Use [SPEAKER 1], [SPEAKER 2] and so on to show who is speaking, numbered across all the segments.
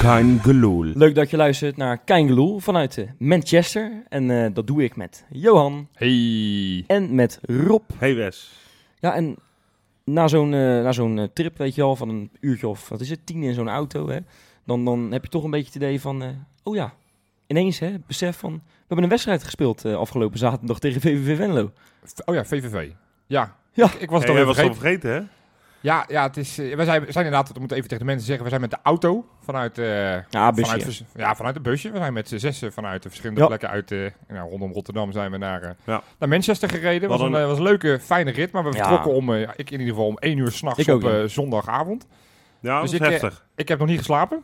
[SPEAKER 1] Kein Geloel.
[SPEAKER 2] Leuk dat je luistert naar Keingeloel vanuit eh, Manchester. En eh, dat doe ik met Johan
[SPEAKER 3] Hey.
[SPEAKER 2] en met Rob.
[SPEAKER 1] Hey Wes.
[SPEAKER 2] Ja, en na zo'n eh, na zo'n eh, trip, weet je al, van een uurtje of wat is het, tien in zo'n auto, hè, dan, dan heb je toch een beetje het idee van, eh, oh ja, ineens hè, het besef van, we hebben een wedstrijd gespeeld eh, afgelopen zaterdag tegen VVV Venlo.
[SPEAKER 3] V- Oh ja, VVV. Ja.
[SPEAKER 2] Ja.
[SPEAKER 3] Ik, ik was het
[SPEAKER 1] Hey,
[SPEAKER 3] alweer
[SPEAKER 1] jij was het al
[SPEAKER 3] vergeten.
[SPEAKER 1] vergeten, hè?
[SPEAKER 3] Ja, ja, het is... eh, we zijn, we zijn inderdaad, dat moeten even tegen de mensen zeggen, we zijn met de auto vanuit... eh,
[SPEAKER 2] Ja,
[SPEAKER 3] vanuit
[SPEAKER 2] busje.
[SPEAKER 3] vers- ja, vanuit de busje. We zijn met z'n zessen vanuit de verschillende
[SPEAKER 2] Ja.
[SPEAKER 3] plekken uit... eh, nou, rondom Rotterdam zijn we naar, eh,
[SPEAKER 1] Ja.
[SPEAKER 3] naar Manchester gereden. Was
[SPEAKER 1] Wat
[SPEAKER 3] een,
[SPEAKER 1] een-
[SPEAKER 3] eh, was een leuke, fijne rit. Maar we
[SPEAKER 2] Ja.
[SPEAKER 3] vertrokken om, eh, ik in ieder geval, om één uur s'nachts
[SPEAKER 2] Ik ook,
[SPEAKER 3] op
[SPEAKER 2] ja.
[SPEAKER 3] eh, zondagavond.
[SPEAKER 1] Ja,
[SPEAKER 3] Dus
[SPEAKER 1] dat is
[SPEAKER 3] ik, eh,
[SPEAKER 1] heftig.
[SPEAKER 3] Ik heb nog niet geslapen.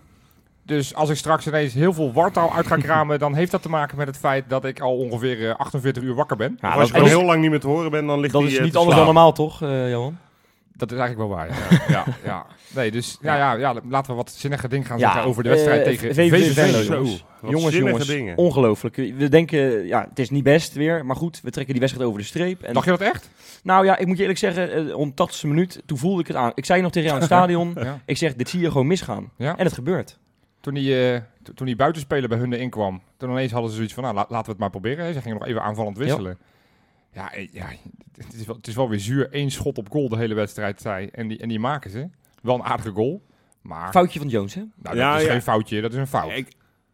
[SPEAKER 3] Dus als ik straks ineens heel veel wartaal uit ga kramen, dan heeft dat te maken met het feit dat ik al ongeveer eh, 48 uur wakker ben.
[SPEAKER 2] Ja,
[SPEAKER 1] Of
[SPEAKER 2] dat
[SPEAKER 1] als je
[SPEAKER 2] is,
[SPEAKER 1] al
[SPEAKER 2] dat is-
[SPEAKER 1] heel lang niet meer te horen bent, dan ligt
[SPEAKER 2] dat
[SPEAKER 1] die,
[SPEAKER 2] is
[SPEAKER 1] eh,
[SPEAKER 2] niet
[SPEAKER 1] te
[SPEAKER 2] anders dan
[SPEAKER 1] slapen.
[SPEAKER 2] normaal, toch, eh, Johan?
[SPEAKER 3] Dat is eigenlijk wel waar. Ja, ja, ja. Nee, dus ja, ja, ja, laten we wat zinnige dingen gaan
[SPEAKER 2] Ja,
[SPEAKER 3] zeggen over de
[SPEAKER 2] eh,
[SPEAKER 3] wedstrijd tegen
[SPEAKER 2] VVV
[SPEAKER 3] VVV.
[SPEAKER 2] Venlo,
[SPEAKER 3] Zo.
[SPEAKER 2] jongens.
[SPEAKER 1] Wat
[SPEAKER 2] jongens,
[SPEAKER 1] zinnige
[SPEAKER 2] jongens,
[SPEAKER 1] dingen.
[SPEAKER 2] ongelooflijk. We denken, ja, het is niet best weer, maar goed, we trekken die wedstrijd over de streep. En
[SPEAKER 3] Dacht je dat echt?
[SPEAKER 2] Nou ja, ik moet je eerlijk zeggen, eh, om 80ste minuut, toen voelde ik het aan. Ik zei nog tegen jou in het stadion,
[SPEAKER 3] Ja.
[SPEAKER 2] ik zeg, dit zie je gewoon misgaan.
[SPEAKER 3] Ja.
[SPEAKER 2] En het gebeurt.
[SPEAKER 3] Toen die, eh, to- toen die buitenspeler bij hun erin kwam, toen ineens hadden ze zoiets van, nou, la- laten we het maar proberen. hè. Ze gingen nog even aanvallend wisselen. Ja, eh, ja, het, is wel, het is wel weer zuur. Eén schot op goal de hele wedstrijd, zij. En die, en die maken ze. Wel een aardige goal. Maar
[SPEAKER 2] Foutje van Jones, hè?
[SPEAKER 3] nou, dat
[SPEAKER 1] Ja,
[SPEAKER 3] is
[SPEAKER 1] ja.
[SPEAKER 3] geen foutje, dat is een fout.
[SPEAKER 1] Ik,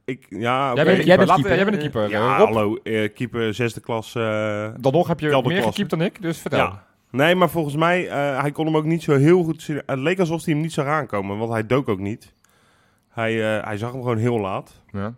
[SPEAKER 1] ik, ja,
[SPEAKER 3] jij,
[SPEAKER 1] oké.
[SPEAKER 3] bent,
[SPEAKER 2] jij
[SPEAKER 3] jij,
[SPEAKER 2] bent
[SPEAKER 3] bent
[SPEAKER 2] keeper.
[SPEAKER 3] jij bent een keeper.
[SPEAKER 1] Ja,
[SPEAKER 3] eh, Rob,
[SPEAKER 1] hallo. eh, keeper zesde klas. eh,
[SPEAKER 3] dan nog heb je
[SPEAKER 1] Kelder
[SPEAKER 3] meer
[SPEAKER 1] klasse.
[SPEAKER 3] gekiept dan ik, dus vertel.
[SPEAKER 1] ja. Nee, maar volgens mij, eh, hij kon hem ook niet zo heel goed zien. Het leek alsof hij hem niet zag aankomen, want hij dook ook niet. Hij, eh, hij zag hem gewoon heel laat.
[SPEAKER 3] Ja.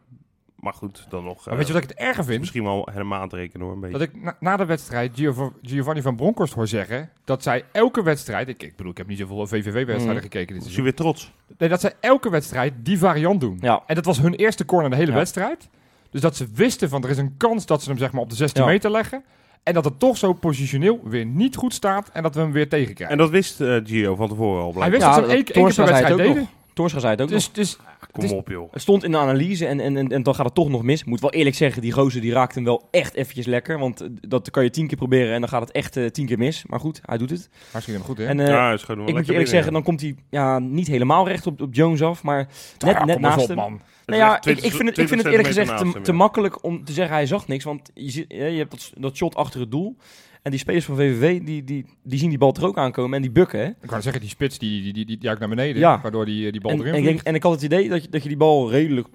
[SPEAKER 1] Maar goed, dan nog.
[SPEAKER 3] Maar
[SPEAKER 1] eh,
[SPEAKER 3] weet je wat ik het erger vind?
[SPEAKER 1] Misschien wel helemaal aan te rekenen hoor, een beetje.
[SPEAKER 3] Dat ik na, na de wedstrijd Giov- Giovanni van Bronckhorst hoor zeggen dat zij elke wedstrijd, ik, ik bedoel, ik heb niet zoveel VVV-wedstrijden
[SPEAKER 2] Mm.
[SPEAKER 3] gekeken dit
[SPEAKER 1] Is hij
[SPEAKER 3] seizoen,
[SPEAKER 1] weer trots?
[SPEAKER 3] nee, dat zij elke wedstrijd die variant doen.
[SPEAKER 2] Ja.
[SPEAKER 3] En dat was hun eerste corner de hele
[SPEAKER 2] Ja.
[SPEAKER 3] wedstrijd. Dus dat ze wisten van er is een kans dat ze hem zeg maar op de 16
[SPEAKER 2] Ja.
[SPEAKER 3] meter leggen. En dat het toch zo positioneel weer niet goed staat en dat we hem weer tegenkrijgen.
[SPEAKER 1] En dat wist eh, Gio van tevoren al.
[SPEAKER 3] Hij
[SPEAKER 1] blijkbaar.
[SPEAKER 3] wist
[SPEAKER 2] Ja,
[SPEAKER 3] dat ze hem één
[SPEAKER 2] dat-
[SPEAKER 3] één keer per
[SPEAKER 2] Torstra zei het
[SPEAKER 3] wedstrijd
[SPEAKER 2] ook
[SPEAKER 3] deden.
[SPEAKER 2] Torstra zei het ook nog.
[SPEAKER 3] Dus, dus
[SPEAKER 1] Kom
[SPEAKER 3] het is-
[SPEAKER 1] op joh.
[SPEAKER 2] Het stond in de analyse en, en, en, en dan gaat het toch nog mis. Moet wel eerlijk zeggen, die gozer die raakt hem wel echt eventjes lekker. Want eh, dat kan je tien keer proberen en dan gaat het echt eh, tien keer mis. Maar goed, hij doet het.
[SPEAKER 3] hartstikke goed hè.
[SPEAKER 2] En eh,
[SPEAKER 1] ja, is gewoon
[SPEAKER 2] ik moet je eerlijk zeggen, dan komt hij ja, niet helemaal recht op, op Jones af. Maar
[SPEAKER 3] Ah,
[SPEAKER 2] net,
[SPEAKER 3] kom
[SPEAKER 2] net
[SPEAKER 3] eens
[SPEAKER 2] naast
[SPEAKER 3] op,
[SPEAKER 2] hem.
[SPEAKER 3] man.
[SPEAKER 2] Nou ja, ik, ik, vind het, ik vind het eerlijk gezegd te, te makkelijk om te zeggen hij zag niks. Want je, ziet- hè, je hebt dat, dat shot achter het doel. En die spelers van VVV, die, die, die zien die bal er ook aankomen en die bukken. Hè?
[SPEAKER 3] Ik wou zeggen, die spits die, die, die, die duikt naar beneden,
[SPEAKER 2] Ja.
[SPEAKER 3] waardoor die, die bal
[SPEAKER 2] En,
[SPEAKER 3] erin
[SPEAKER 2] en, ik denk,
[SPEAKER 3] vliegt.
[SPEAKER 2] en ik had het idee dat je, dat je die bal redelijk...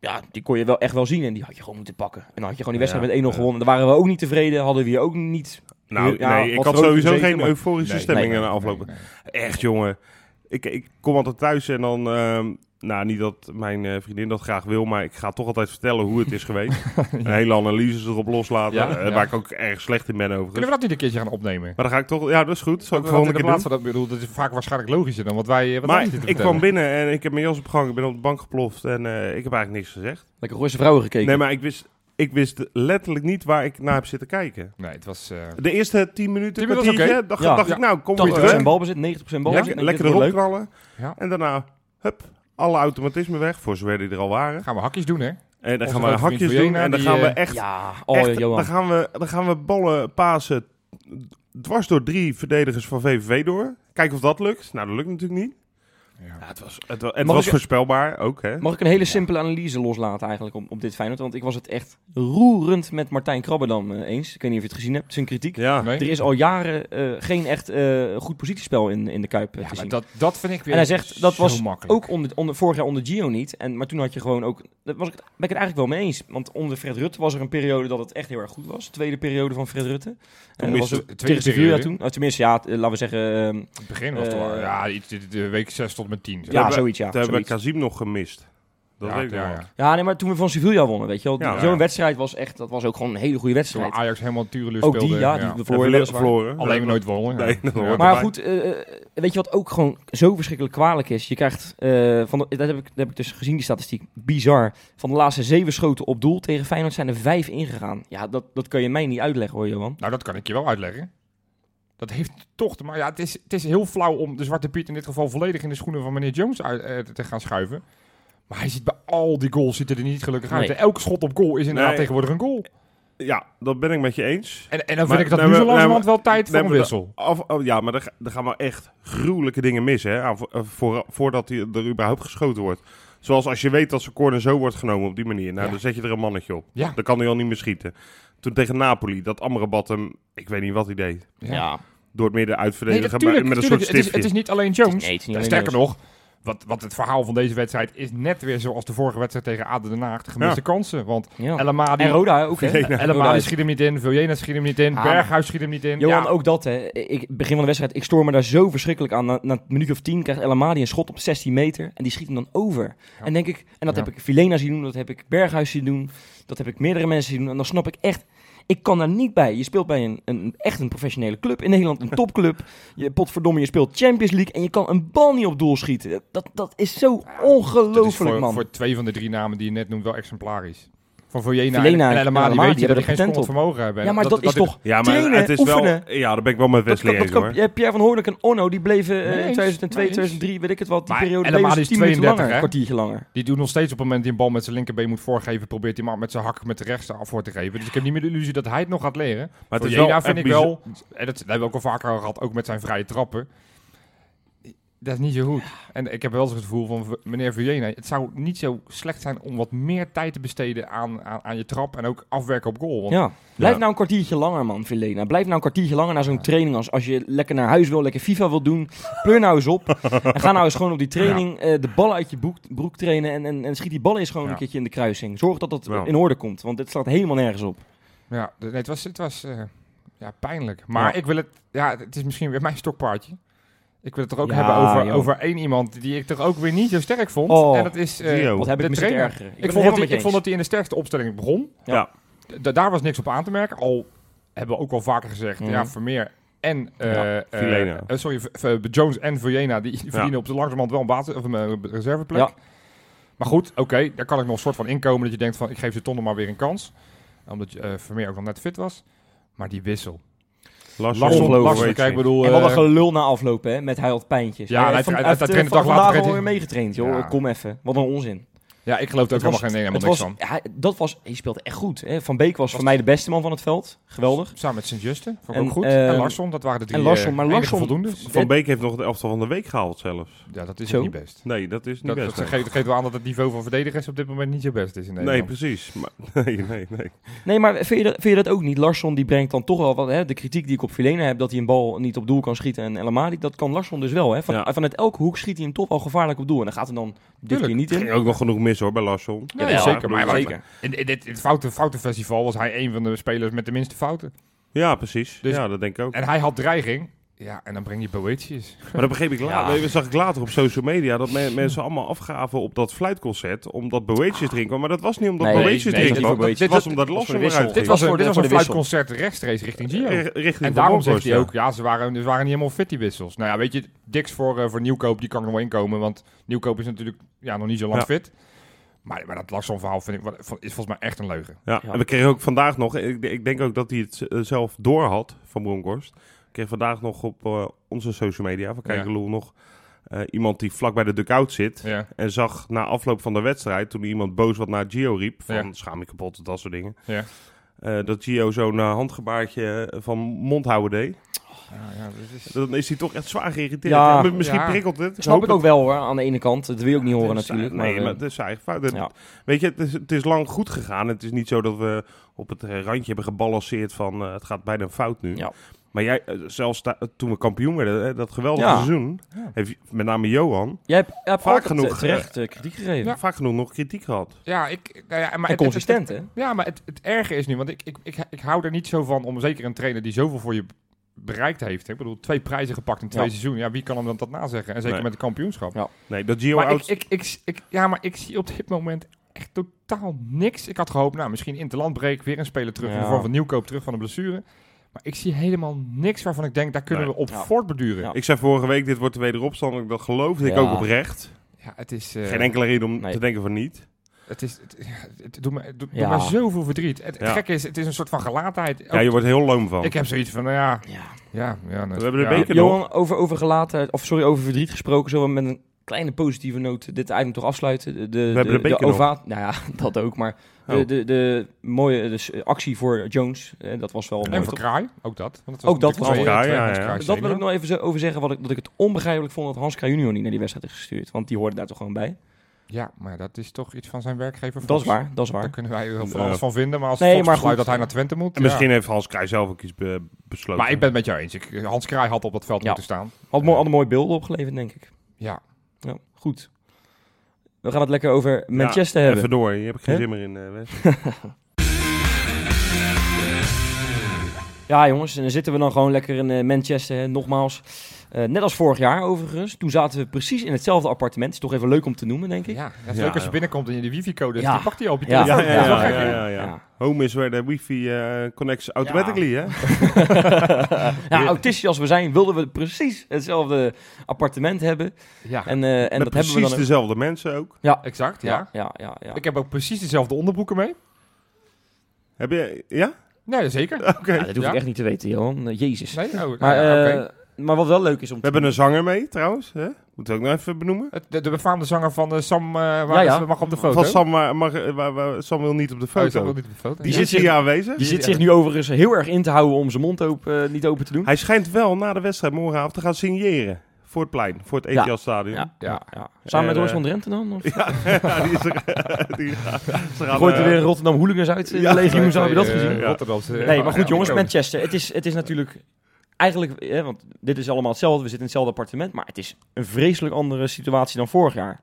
[SPEAKER 2] Ja, die kon je wel echt wel zien en die had je gewoon moeten pakken. En dan had je gewoon die
[SPEAKER 1] Ja,
[SPEAKER 2] wedstrijd met 1-0
[SPEAKER 1] ja.
[SPEAKER 2] gewonnen. Daar waren we ook niet tevreden, hadden we hier ook niet...
[SPEAKER 1] Nou,
[SPEAKER 2] Ja,
[SPEAKER 1] nee, ik
[SPEAKER 2] wat
[SPEAKER 1] had
[SPEAKER 2] groter
[SPEAKER 1] sowieso
[SPEAKER 2] zeker,
[SPEAKER 1] geen
[SPEAKER 2] maar-
[SPEAKER 1] euforische
[SPEAKER 3] Nee,
[SPEAKER 1] stemming
[SPEAKER 2] nee,
[SPEAKER 1] aan de afloop. Echt, jongen. Ik, ik kom altijd thuis en dan... ehm, nou, niet dat mijn eh, vriendin dat graag wil, maar ik ga toch altijd vertellen hoe het is geweest. Een hele analyses erop loslaten,
[SPEAKER 3] Ja,
[SPEAKER 1] eh,
[SPEAKER 3] ja.
[SPEAKER 1] waar ik ook erg slecht in ben overigens.
[SPEAKER 3] Kunnen we dat niet een keertje gaan opnemen?
[SPEAKER 1] Maar dan ga ik toch... Ja, dat is goed. Zal ik de
[SPEAKER 3] Want
[SPEAKER 1] volgende
[SPEAKER 3] in de
[SPEAKER 1] keer doen.
[SPEAKER 3] plaats van dat, bedoel, dat is vaak waarschijnlijk logischer dan wat wij eh, wat wij
[SPEAKER 1] Maar
[SPEAKER 3] zitten te
[SPEAKER 1] ik kwam
[SPEAKER 3] vertellen.
[SPEAKER 1] binnen en ik heb mijn jas opgehangen, ik ben op de bank geploft en eh, ik heb eigenlijk niks gezegd.
[SPEAKER 2] Lekker Royse vrouwen gekeken.
[SPEAKER 1] Nee, maar ik wist, ik wist letterlijk niet waar ik naar heb zitten kijken.
[SPEAKER 3] Nee, het was... eh,
[SPEAKER 1] De eerste 10 minuten,
[SPEAKER 3] Tien minuten,
[SPEAKER 1] kwartiertje, dacht,
[SPEAKER 2] Ja.
[SPEAKER 1] dacht
[SPEAKER 3] Ja.
[SPEAKER 1] ik, nou, kom weer
[SPEAKER 2] 80%
[SPEAKER 1] terug.
[SPEAKER 2] balbezit, 90% balbezit.
[SPEAKER 1] Lekker,
[SPEAKER 2] Ik denk,
[SPEAKER 1] lekker
[SPEAKER 2] dit wordt
[SPEAKER 1] erop
[SPEAKER 2] leuk.
[SPEAKER 1] knallen.
[SPEAKER 3] Ja.
[SPEAKER 1] En daarna, hup, alle automatisme weg, voor zover die er al waren.
[SPEAKER 3] gaan we hakjes doen, hè?
[SPEAKER 1] En dan
[SPEAKER 3] Onze
[SPEAKER 1] gaan we
[SPEAKER 3] grote vriend
[SPEAKER 1] hakjes
[SPEAKER 3] Vujena,
[SPEAKER 1] doen en dan
[SPEAKER 3] die,
[SPEAKER 1] gaan we
[SPEAKER 3] eh,
[SPEAKER 1] echt...
[SPEAKER 2] Ja, oh
[SPEAKER 1] echt- dan,
[SPEAKER 2] Johan.
[SPEAKER 1] gaan we, dan gaan we ballen pasen dwars door drie verdedigers van VVV door. Kijken of dat lukt. Nou, dat lukt natuurlijk niet.
[SPEAKER 3] Ja.
[SPEAKER 1] het was, het, wa- het
[SPEAKER 2] Mag
[SPEAKER 1] was
[SPEAKER 2] ik-
[SPEAKER 1] voorspelbaar ook, hè?
[SPEAKER 2] Mag ik een hele simpele analyse loslaten eigenlijk op, op dit Feyenoord? Want ik was het echt roerend met Martijn Krabberdam eh, eens. Ik weet niet of je het gezien hebt, zijn kritiek.
[SPEAKER 1] Ja.
[SPEAKER 3] Nee?
[SPEAKER 2] Er is al jaren eh, geen echt eh, goed positiespel in, in de Kuip eh,
[SPEAKER 3] Ja,
[SPEAKER 2] te
[SPEAKER 3] maar
[SPEAKER 2] zien.
[SPEAKER 3] dat, dat vind ik weer
[SPEAKER 2] En hij zegt, dat
[SPEAKER 3] zo
[SPEAKER 2] was
[SPEAKER 3] makkelijk.
[SPEAKER 2] Ook onder, onder, vorig jaar onder Gio niet. En, maar toen had je gewoon ook... Daar was ik, het- ben ik het eigenlijk wel mee eens. Want onder Fred Rutte was er een periode dat het echt heel erg goed was. Tweede periode van Fred Rutte. En dat
[SPEAKER 1] is
[SPEAKER 2] was
[SPEAKER 1] de
[SPEAKER 2] ook
[SPEAKER 3] tweede
[SPEAKER 2] tegen Sevilla
[SPEAKER 3] periode.
[SPEAKER 2] toen. Nou, tenminste, ja, t- eh, laten we zeggen... ehm,
[SPEAKER 3] Het begin was
[SPEAKER 2] Eh,
[SPEAKER 3] toch wel- Ja, iets, de, de week 6 tot met 10.
[SPEAKER 2] ja,
[SPEAKER 3] zeg maar.
[SPEAKER 2] zoiets, ja.
[SPEAKER 1] Toen hebben we
[SPEAKER 2] zoiets.
[SPEAKER 1] Kazim nog gemist. Dat weet ik
[SPEAKER 3] ja,
[SPEAKER 1] nog.
[SPEAKER 3] ja.
[SPEAKER 2] Ja, nee, maar toen we van Sevilla wonnen, weet je wel. die-
[SPEAKER 1] Ja, ja.
[SPEAKER 2] Zo'n wedstrijd was echt... Dat was ook gewoon een hele goede
[SPEAKER 3] Toen
[SPEAKER 2] wedstrijd.
[SPEAKER 3] Ajax helemaal tureluur
[SPEAKER 2] Ook
[SPEAKER 3] speelde.
[SPEAKER 2] die, ja, die we
[SPEAKER 1] En
[SPEAKER 2] verloren.
[SPEAKER 1] verle-
[SPEAKER 2] weliswaar.
[SPEAKER 1] verloren.
[SPEAKER 3] Alleen we nooit wonnen.
[SPEAKER 1] Nee, dat hoort
[SPEAKER 2] Maar
[SPEAKER 1] erbij.
[SPEAKER 2] goed, eh, eh, weet je wat ook gewoon zo verschrikkelijk kwalijk is? Je krijgt, eh, van de- dat, heb ik, dat heb ik dus gezien, die statistiek, bizar. Van de laatste zeven schoten op doel tegen Feyenoord zijn er vijf ingegaan. Ja, dat, dat kan je mij niet uitleggen hoor, Johan.
[SPEAKER 3] Nou, dat kan ik je wel uitleggen. Dat heeft toch te maken. Ja, het is, het is heel flauw om de Zwarte Piet in dit geval volledig in de schoenen van meneer Jones uit, eh, te gaan schuiven. Maar hij ziet bij al die goals ziet hij er niet gelukkig uit.
[SPEAKER 2] Nee.
[SPEAKER 3] Elk schot op goal is inderdaad
[SPEAKER 1] Nee.
[SPEAKER 3] tegenwoordig een goal.
[SPEAKER 1] Ja, dat ben ik met je eens.
[SPEAKER 3] En, en dan
[SPEAKER 1] Maar
[SPEAKER 3] vind ik dat
[SPEAKER 1] nee,
[SPEAKER 3] nu
[SPEAKER 1] maar-
[SPEAKER 3] zo langzamerhand wel tijd voor
[SPEAKER 1] nee,
[SPEAKER 3] een
[SPEAKER 1] maar-
[SPEAKER 3] wissel.
[SPEAKER 1] Af, oh, ja, maar er, ga- er gaan wel echt gruwelijke dingen mis, hè? aan- vo- eh, voor, voordat die, er überhaupt geschoten wordt. Zoals als je weet dat zijn corner zo wordt genomen op die manier. Nou,
[SPEAKER 3] Ja.
[SPEAKER 1] dan zet je er een mannetje op.
[SPEAKER 3] Ja.
[SPEAKER 1] Dan kan hij al niet meer schieten. Toen tegen Napoli, dat Amrabat hem, ik weet niet wat hij deed.
[SPEAKER 2] Ja,
[SPEAKER 1] Door het midden
[SPEAKER 3] Nee,
[SPEAKER 1] uitverdedigen
[SPEAKER 3] natuurlijk.
[SPEAKER 1] maar met een
[SPEAKER 3] natuurlijk.
[SPEAKER 1] soort
[SPEAKER 3] het, is,
[SPEAKER 1] stiftje.
[SPEAKER 3] het is niet alleen Jones.
[SPEAKER 2] nee, het is niet alleen
[SPEAKER 3] Sterker nog, wat, wat het verhaal van deze wedstrijd is net weer zoals de vorige wedstrijd tegen Aden Den Haag. de Gemiste
[SPEAKER 1] Ja.
[SPEAKER 3] kansen. Want
[SPEAKER 2] ja.
[SPEAKER 3] Elamadi
[SPEAKER 2] En Roda ook, hè?
[SPEAKER 1] Vergeet nou.
[SPEAKER 2] Roda
[SPEAKER 3] Elamadi
[SPEAKER 2] is-
[SPEAKER 3] schiet hem niet in. Viljena schiet hem niet in.
[SPEAKER 2] Ah,
[SPEAKER 3] Berghuis schiet hem niet in.
[SPEAKER 2] Johan,
[SPEAKER 3] ja,
[SPEAKER 2] ook dat, hè. Ik, begin van de wedstrijd, ik stoor me daar zo verschrikkelijk aan. Na, na een minuutje of tien krijgt El Amadi een schot op 16 meter en die schiet hem dan over.
[SPEAKER 3] Ja.
[SPEAKER 2] En denk ik, en dat
[SPEAKER 3] Ja.
[SPEAKER 2] heb ik Vilena zien doen, dat heb ik Berghuis zien doen, dat heb ik meerdere mensen zien doen. En dan snap ik echt, ik kan daar niet bij. Je speelt bij een, een echt een professionele club in Nederland, een topclub. Je potverdomme, je speelt Champions League en je kan een bal niet op doel schieten. Dat, dat is zo
[SPEAKER 3] dat is
[SPEAKER 2] ongelooflijk,
[SPEAKER 3] voor,
[SPEAKER 2] man.
[SPEAKER 3] voor twee van de drie namen die je net noemt wel exemplarisch. Voor Viljena en, en
[SPEAKER 2] Viljena en
[SPEAKER 3] Elamadi
[SPEAKER 2] Elamadi
[SPEAKER 3] weet je dat
[SPEAKER 2] hebben
[SPEAKER 3] die
[SPEAKER 2] er
[SPEAKER 3] geen
[SPEAKER 2] patent
[SPEAKER 3] spannend vermogen hebben.
[SPEAKER 2] ja, maar dat, is toch...
[SPEAKER 1] Ja, maar
[SPEAKER 2] trainen,
[SPEAKER 1] het is
[SPEAKER 2] oefenen.
[SPEAKER 1] wel... Ja, daar ben ik wel met
[SPEAKER 2] Dat
[SPEAKER 1] Wesley
[SPEAKER 2] kan, dat
[SPEAKER 1] eens hoor.
[SPEAKER 2] kan, ja, Pierre van Hoornik en Onno, die bleven eh,
[SPEAKER 3] Nee eens,
[SPEAKER 2] in 2002,
[SPEAKER 3] nee eens.
[SPEAKER 2] 2003, weet ik het wat, die
[SPEAKER 3] Maar
[SPEAKER 2] periode
[SPEAKER 3] El Amadi
[SPEAKER 2] bleven ze 10
[SPEAKER 3] is
[SPEAKER 2] minuten langer,
[SPEAKER 3] 32, hè?
[SPEAKER 2] een kwartiertje langer.
[SPEAKER 3] Die doet nog steeds op het moment die een bal met zijn linkerbeen moet voorgeven, probeert hij maar met zijn hak met de rechter af voor te geven. Dus ik heb niet meer de illusie dat hij het nog gaat leren.
[SPEAKER 1] Maar
[SPEAKER 3] Voor
[SPEAKER 1] het is
[SPEAKER 3] Jena
[SPEAKER 1] wel
[SPEAKER 3] vind
[SPEAKER 1] echt
[SPEAKER 3] ik wel, en dat, dat hebben we ook al vaker al gehad, ook met zijn vrije trappen. Dat is niet zo goed. En ik heb wel eens het gevoel van, v- meneer Vujena, het zou niet zo slecht zijn om wat meer tijd te besteden aan, aan, aan je trap en ook afwerken op goal. Want
[SPEAKER 2] Ja. Blijf nou een kwartiertje langer, man, Vilena. Blijf nou een kwartiertje langer naar zo'n training. Als, als je lekker naar huis wil, lekker FIFA wil doen. Pleur nou eens op. en ga nou eens gewoon op die training eh, de ballen uit je broek, broek trainen. En, en, en schiet die ballen eens gewoon
[SPEAKER 3] Ja.
[SPEAKER 2] een keertje in de kruising. Zorg dat dat
[SPEAKER 1] Ja.
[SPEAKER 2] in orde komt, want dit slaat helemaal nergens op.
[SPEAKER 3] Oh. Ja, d- nee, het was, het was eh, ja, pijnlijk. Maar
[SPEAKER 1] Ja.
[SPEAKER 3] ik wil het, ja, het is misschien weer mijn stokpaardje. Ik wil het toch ook
[SPEAKER 2] Ja,
[SPEAKER 3] hebben over,
[SPEAKER 2] joh.
[SPEAKER 3] over één iemand die ik toch ook weer niet zo sterk vond.
[SPEAKER 2] Oh,
[SPEAKER 3] en dat is eh,
[SPEAKER 1] Gio.
[SPEAKER 2] Wat heb
[SPEAKER 3] de
[SPEAKER 2] ik me zitten
[SPEAKER 3] trainer.
[SPEAKER 2] ergeren?
[SPEAKER 3] Ik,
[SPEAKER 2] ben
[SPEAKER 3] vond
[SPEAKER 2] het
[SPEAKER 3] dat hij, ik
[SPEAKER 2] helemaal
[SPEAKER 3] vond
[SPEAKER 2] met
[SPEAKER 3] dat hij in de sterkste opstelling begon.
[SPEAKER 2] Ja.
[SPEAKER 1] Ja.
[SPEAKER 3] D- daar was niks op aan te merken. Al hebben we ook al vaker gezegd,
[SPEAKER 2] Mhm.
[SPEAKER 3] ja, Vermeer en... eh,
[SPEAKER 1] Ja,
[SPEAKER 3] eh,
[SPEAKER 1] Villena.
[SPEAKER 3] eh, sorry, V- V- Jones en Vujena, die, die verdienen op de langzamerhand wel een basis, of een eh, reserveplek.
[SPEAKER 2] Ja.
[SPEAKER 3] Maar goed, oké, daar kan ik nog een soort van inkomen dat je denkt van, ik geef ze toch nog maar weer een kans. Omdat je, eh, Vermeer ook nog net fit was. Maar die wissel.
[SPEAKER 1] Lars
[SPEAKER 3] Larsson,
[SPEAKER 2] ongelooflijk,
[SPEAKER 3] Larsson, kijk, ik bedoel...
[SPEAKER 2] en wat een
[SPEAKER 3] eh,
[SPEAKER 2] gelul na aflopen, hè, met hij had pijntjes.
[SPEAKER 3] Ja, en hij- hij- hij
[SPEAKER 2] heeft, eh,
[SPEAKER 3] trainde dag later
[SPEAKER 2] vandaag
[SPEAKER 3] traint
[SPEAKER 2] alweer
[SPEAKER 3] hij-
[SPEAKER 2] meegetraind, joh.
[SPEAKER 3] Ja.
[SPEAKER 2] Kom even. Wat een onzin.
[SPEAKER 3] ja, ik geloof er ook
[SPEAKER 2] Het
[SPEAKER 3] helemaal geen helemaal
[SPEAKER 2] het
[SPEAKER 3] niks
[SPEAKER 2] was-
[SPEAKER 3] van.
[SPEAKER 2] hij- dat was, hij speelde echt goed. Hè. Van Beek was voor mij de beste man van het veld. Geweldig.
[SPEAKER 3] Samen met Sint-Juste, vond ik
[SPEAKER 2] En,
[SPEAKER 3] ook goed.
[SPEAKER 2] eh,
[SPEAKER 3] en Larsson, dat waren de drie
[SPEAKER 2] en Larsson,
[SPEAKER 3] eh,
[SPEAKER 2] maar
[SPEAKER 3] enige
[SPEAKER 2] Larsson-
[SPEAKER 3] voldoendes.
[SPEAKER 1] Van Beek heeft nog het elftal van de week gehaald zelfs.
[SPEAKER 3] Ja, dat is
[SPEAKER 2] Zo.
[SPEAKER 3] ook niet best.
[SPEAKER 1] Nee, dat is niet
[SPEAKER 3] Dat, dat
[SPEAKER 1] best. nee.
[SPEAKER 3] geeft, geeft wel aan dat het niveau van verdedigers op dit moment niet zo best is in
[SPEAKER 1] Nee,
[SPEAKER 3] Nederland.
[SPEAKER 1] precies. Maar, nee, nee, nee.
[SPEAKER 2] Nee, maar vind je, dat, vind je dat ook niet? Larsson die brengt dan toch wel wat, hè, de kritiek die ik op Filena heb, dat hij een bal niet op doel kan schieten. En Elamadi, dat kan Larsson dus wel. Hè. Van,
[SPEAKER 1] Ja.
[SPEAKER 2] Vanuit elke hoek schiet hij hem toch wel gevaarlijk op doel. En dan gaat hij dan dit
[SPEAKER 3] Tuurlijk.
[SPEAKER 2] keer niet in.
[SPEAKER 1] Ging ook nog genoeg mis hoor bij Larsson.
[SPEAKER 3] Nee,
[SPEAKER 2] Jawel,
[SPEAKER 3] zeker,
[SPEAKER 2] hè,
[SPEAKER 3] maar
[SPEAKER 2] bedoel,
[SPEAKER 3] hij In, in dit in het fouten, foutenfestival was hij een van de spelers met de minste fouten.
[SPEAKER 1] Ja, precies.
[SPEAKER 3] Dus-
[SPEAKER 1] ja, dat denk ik ook.
[SPEAKER 3] En hij had dreiging. Ja, en dan breng je Boetius.
[SPEAKER 1] Maar dat begreep ik later. Dat zag ik later op social media dat men- mensen allemaal afgaven op dat fluitconcert omdat Boetjes erin kwam. Maar dat was niet omdat
[SPEAKER 2] Nee,
[SPEAKER 1] Boetjes
[SPEAKER 3] nee,
[SPEAKER 1] erin
[SPEAKER 3] nee,
[SPEAKER 1] kwam.
[SPEAKER 2] dat-
[SPEAKER 1] Het was omdat Larsson
[SPEAKER 2] was voor
[SPEAKER 1] eruit
[SPEAKER 2] de
[SPEAKER 3] Dit
[SPEAKER 1] ging.
[SPEAKER 3] was een,
[SPEAKER 2] voor de-
[SPEAKER 3] dit was
[SPEAKER 2] voor
[SPEAKER 3] een
[SPEAKER 2] de wissel.
[SPEAKER 3] fluitconcert rechtstreeks richting Gio.
[SPEAKER 1] Eh, Richting Van
[SPEAKER 3] En daarom
[SPEAKER 1] Bronckhorst,
[SPEAKER 3] zegt hij ook, ja, ze waren, ze waren niet helemaal fit die wissels. Nou ja, weet je, Dix voor, eh, voor Nieuwkoop, die kan er nog wel inkomen. Want Nieuwkoop is natuurlijk ja, nog niet zo lang
[SPEAKER 1] Ja.
[SPEAKER 3] fit. Maar, maar dat Larsson verhaal vind ik, wat- is volgens mij echt een leugen.
[SPEAKER 1] Ja,
[SPEAKER 2] Ja.
[SPEAKER 1] en we kregen ook vandaag nog, ik, ik denk ook dat hij het z- eh, zelf door had van Bronkhorst. Ik kreeg vandaag nog op eh, onze social media, van Kijk
[SPEAKER 3] Ja.
[SPEAKER 1] Lul, nog eh, iemand die vlak bij de dugout zit.
[SPEAKER 3] Ja,
[SPEAKER 1] En zag na afloop van de wedstrijd, toen iemand boos wat naar Gio riep, van
[SPEAKER 3] Ja.
[SPEAKER 1] schaam je kapot, dat soort dingen.
[SPEAKER 3] Ja.
[SPEAKER 1] eh, dat Gio zo'n eh, handgebaartje eh, van mond houden deed.
[SPEAKER 3] ja, Ah, ja dat is...
[SPEAKER 1] Dan is hij toch echt zwaar geïrriteerd.
[SPEAKER 2] Ja.
[SPEAKER 1] Ja, m- misschien
[SPEAKER 3] Ja.
[SPEAKER 1] prikkelt het.
[SPEAKER 2] Snap ik
[SPEAKER 1] hoop
[SPEAKER 2] ook wel hoor, aan de ene kant. Dat wil je ook niet
[SPEAKER 1] het.
[SPEAKER 2] horen
[SPEAKER 1] Het is-
[SPEAKER 2] natuurlijk.
[SPEAKER 1] dus, Nee, maar,
[SPEAKER 2] maar, eh,
[SPEAKER 1] het is eigen fout. Het-
[SPEAKER 2] ja.
[SPEAKER 1] Weet je, het is, het is lang goed gegaan. Het is niet zo dat we op het eh, randje hebben gebalanceerd van eh, het gaat bijna fout nu.
[SPEAKER 2] Ja.
[SPEAKER 1] Maar jij, eh, zelfs ta- toen we kampioen werden, hè, dat geweldige
[SPEAKER 2] Ja.
[SPEAKER 1] seizoen,
[SPEAKER 3] Ja.
[SPEAKER 1] heeft met name Johan
[SPEAKER 2] Jij hebt, jij hebt
[SPEAKER 1] Vaak
[SPEAKER 2] altijd,
[SPEAKER 1] genoeg,
[SPEAKER 2] eh, terecht eh, kritiek gegeven.
[SPEAKER 3] Ja.
[SPEAKER 1] vaak genoeg nog kritiek gehad.
[SPEAKER 3] ja, ik, nou ja, maar het-
[SPEAKER 2] En
[SPEAKER 3] het- het-
[SPEAKER 2] consistent hè.
[SPEAKER 3] Ja, maar het, het erge is nu, want ik, ik, ik, ik hou er niet zo van om zeker een trainer die zoveel voor je bereikt heeft. hè. Ik bedoel, twee prijzen gepakt in twee
[SPEAKER 2] Ja.
[SPEAKER 3] seizoenen. Ja, wie kan hem dan dat nazeggen? En zeker
[SPEAKER 1] Nee.
[SPEAKER 3] met het kampioenschap.
[SPEAKER 2] Ja.
[SPEAKER 1] Nee, dat Gio
[SPEAKER 3] Maar ik,
[SPEAKER 1] oud...
[SPEAKER 3] ik, ik, ik- ja, maar ik zie op dit moment echt totaal niks. Ik had gehoopt, nou, misschien interlandbreek, weer een speler terug in de
[SPEAKER 2] Ja.
[SPEAKER 3] vorm van nieuwkoop, terug van een blessure. Maar ik zie helemaal niks waarvan ik denk, daar kunnen
[SPEAKER 1] Nee.
[SPEAKER 3] we op
[SPEAKER 2] Ja.
[SPEAKER 3] voortbeduren. Ja.
[SPEAKER 2] Ja.
[SPEAKER 1] Ik zei vorige week, dit wordt de wederopstanding. Dat geloofde ik
[SPEAKER 2] Ja.
[SPEAKER 1] ook oprecht.
[SPEAKER 3] het is... eh,
[SPEAKER 1] Geen enkele reden om
[SPEAKER 2] Nee.
[SPEAKER 1] te denken van niet.
[SPEAKER 3] Het, is, het, ja, het doet me, het doet, doet
[SPEAKER 2] Ja.
[SPEAKER 3] me zoveel verdriet. Het, het
[SPEAKER 1] Ja.
[SPEAKER 3] gekke is, het is een soort van gelaatheid.
[SPEAKER 1] Ja, je wordt er heel loom van.
[SPEAKER 3] ik heb zoiets van, nou ja,
[SPEAKER 2] Ja.
[SPEAKER 3] ja, ja.
[SPEAKER 1] We hebben de
[SPEAKER 3] ja.
[SPEAKER 1] beker nog.
[SPEAKER 2] Johan, over, over gelaten, of sorry, over verdriet gesproken, zullen we met een kleine positieve noot dit item toch afsluiten? De, de,
[SPEAKER 1] hebben de beker nog.
[SPEAKER 2] ova- Nou ja, dat ook, maar de,
[SPEAKER 1] Oh.
[SPEAKER 2] de, de mooie dus, eh, actie voor Jones, eh, dat was wel mooi,
[SPEAKER 3] En voor
[SPEAKER 2] toch?
[SPEAKER 3] Kraai, ook dat. Want
[SPEAKER 2] Ook dat was
[SPEAKER 1] voor Kraai,
[SPEAKER 3] ja,
[SPEAKER 1] ja, ja.
[SPEAKER 2] Dat wil ik nog even zo- over zeggen, wat ik, dat ik het onbegrijpelijk vond dat Hans Kraaij junior niet naar die wedstrijd is gestuurd, want die hoorde daar toch gewoon bij.
[SPEAKER 3] Ja, maar dat is toch iets van zijn werkgever.
[SPEAKER 2] Dat is
[SPEAKER 3] Fox.
[SPEAKER 2] waar, dat is
[SPEAKER 3] Daar
[SPEAKER 2] waar.
[SPEAKER 3] kunnen wij wel van
[SPEAKER 1] Ja.
[SPEAKER 3] alles van vinden. Maar als
[SPEAKER 2] Nee,
[SPEAKER 3] nee,
[SPEAKER 2] maar
[SPEAKER 3] Fox besluit
[SPEAKER 2] goed.
[SPEAKER 3] dat hij naar Twente moet...
[SPEAKER 1] En
[SPEAKER 3] ja.
[SPEAKER 1] misschien heeft Hans Krij zelf ook iets be- besloten.
[SPEAKER 3] Maar ik ben het met jou eens. Ik, Hans Kraai had op dat veld
[SPEAKER 2] Ja.
[SPEAKER 3] moeten staan.
[SPEAKER 2] Had mooi, hadden mooie beelden opgeleverd, denk ik.
[SPEAKER 3] Ja.
[SPEAKER 2] Ja, goed. We gaan het lekker over
[SPEAKER 1] Ja,
[SPEAKER 2] Manchester hebben.
[SPEAKER 1] Even door, je hebt geen
[SPEAKER 2] Hè?
[SPEAKER 1] zin meer in. eh, Wes.
[SPEAKER 2] Ja, jongens, en dan zitten we dan gewoon lekker in eh, Manchester, hè, nogmaals. Eh, net als vorig jaar overigens. Toen zaten we precies in hetzelfde appartement. Is toch even leuk om te noemen, denk ik.
[SPEAKER 3] ja. Het is
[SPEAKER 1] Ja,
[SPEAKER 3] leuk als
[SPEAKER 1] ja.
[SPEAKER 3] je binnenkomt en je de wifi-code
[SPEAKER 2] Ja.
[SPEAKER 3] ja. Die pakt hij al op je
[SPEAKER 2] Ja.
[SPEAKER 3] telefoon.
[SPEAKER 1] Ja, ja,
[SPEAKER 3] Dat is wel
[SPEAKER 1] ja,
[SPEAKER 3] gek,
[SPEAKER 1] ja, ja,
[SPEAKER 3] hè?
[SPEAKER 1] ja. Home is where the wifi eh, connects automatically, hè?
[SPEAKER 2] ja, autistisch als we zijn, wilden we precies hetzelfde appartement hebben.
[SPEAKER 3] Ja.
[SPEAKER 2] En, eh, en
[SPEAKER 1] Met
[SPEAKER 2] dat hebben we dan
[SPEAKER 1] precies
[SPEAKER 2] ook.
[SPEAKER 1] dezelfde mensen ook.
[SPEAKER 3] Exact, ja.
[SPEAKER 2] Ja, ja, ja. ja.
[SPEAKER 3] Ik heb ook precies dezelfde onderbroeken mee.
[SPEAKER 1] Heb je... Ja?
[SPEAKER 3] Nee, zeker.
[SPEAKER 1] Oké.
[SPEAKER 2] Ja, dat hoef ik echt niet te weten, Johan. Eh, Jezus.
[SPEAKER 3] Nee? Oh,
[SPEAKER 2] Maar,
[SPEAKER 3] nou ja, oké.
[SPEAKER 2] eh, maar wat wel leuk is om
[SPEAKER 1] We hebben een zanger mee, trouwens. Hè? Moeten we ook nog even benoemen.
[SPEAKER 3] Het- de, de befaamde zanger van eh, Sam, eh, waar
[SPEAKER 2] Ja, ja.
[SPEAKER 3] Is, mag op de foto.
[SPEAKER 1] Van Sam, maar, mag, eh, waar- waar- Sam wil niet op de
[SPEAKER 3] Oh,
[SPEAKER 1] foto.
[SPEAKER 3] Sam wil niet op de foto.
[SPEAKER 1] Die
[SPEAKER 3] Ja.
[SPEAKER 1] zit hier aanwezig.
[SPEAKER 2] Die zit zich nu overigens heel erg in te houden om zijn mond open, eh, niet open te doen.
[SPEAKER 1] Hij schijnt wel na de wedstrijd morgenavond te gaan signeren. Voor het plein, voor het
[SPEAKER 2] Ja.
[SPEAKER 1] ETL Stadion.
[SPEAKER 2] Ja,
[SPEAKER 1] Ja.
[SPEAKER 2] ja. ja.
[SPEAKER 1] En,
[SPEAKER 2] Samen met
[SPEAKER 1] eh,
[SPEAKER 2] Horst van Drenthe dan? Of?
[SPEAKER 1] die is er. die gaat- ze gaan,
[SPEAKER 2] Gooit er
[SPEAKER 1] eh,
[SPEAKER 2] weer Rotterdam hooligans uit in
[SPEAKER 1] ja.
[SPEAKER 2] de legioen, zo heb je dat
[SPEAKER 3] Eh,
[SPEAKER 2] gezien?
[SPEAKER 3] Rotterdamse-
[SPEAKER 2] Nee, maar goed
[SPEAKER 3] Ja,
[SPEAKER 2] jongens,
[SPEAKER 3] ja.
[SPEAKER 2] Manchester. Het is, het is natuurlijk eigenlijk, hè, want dit is allemaal hetzelfde. We zitten in hetzelfde appartement, maar het is een vreselijk andere situatie dan vorig jaar.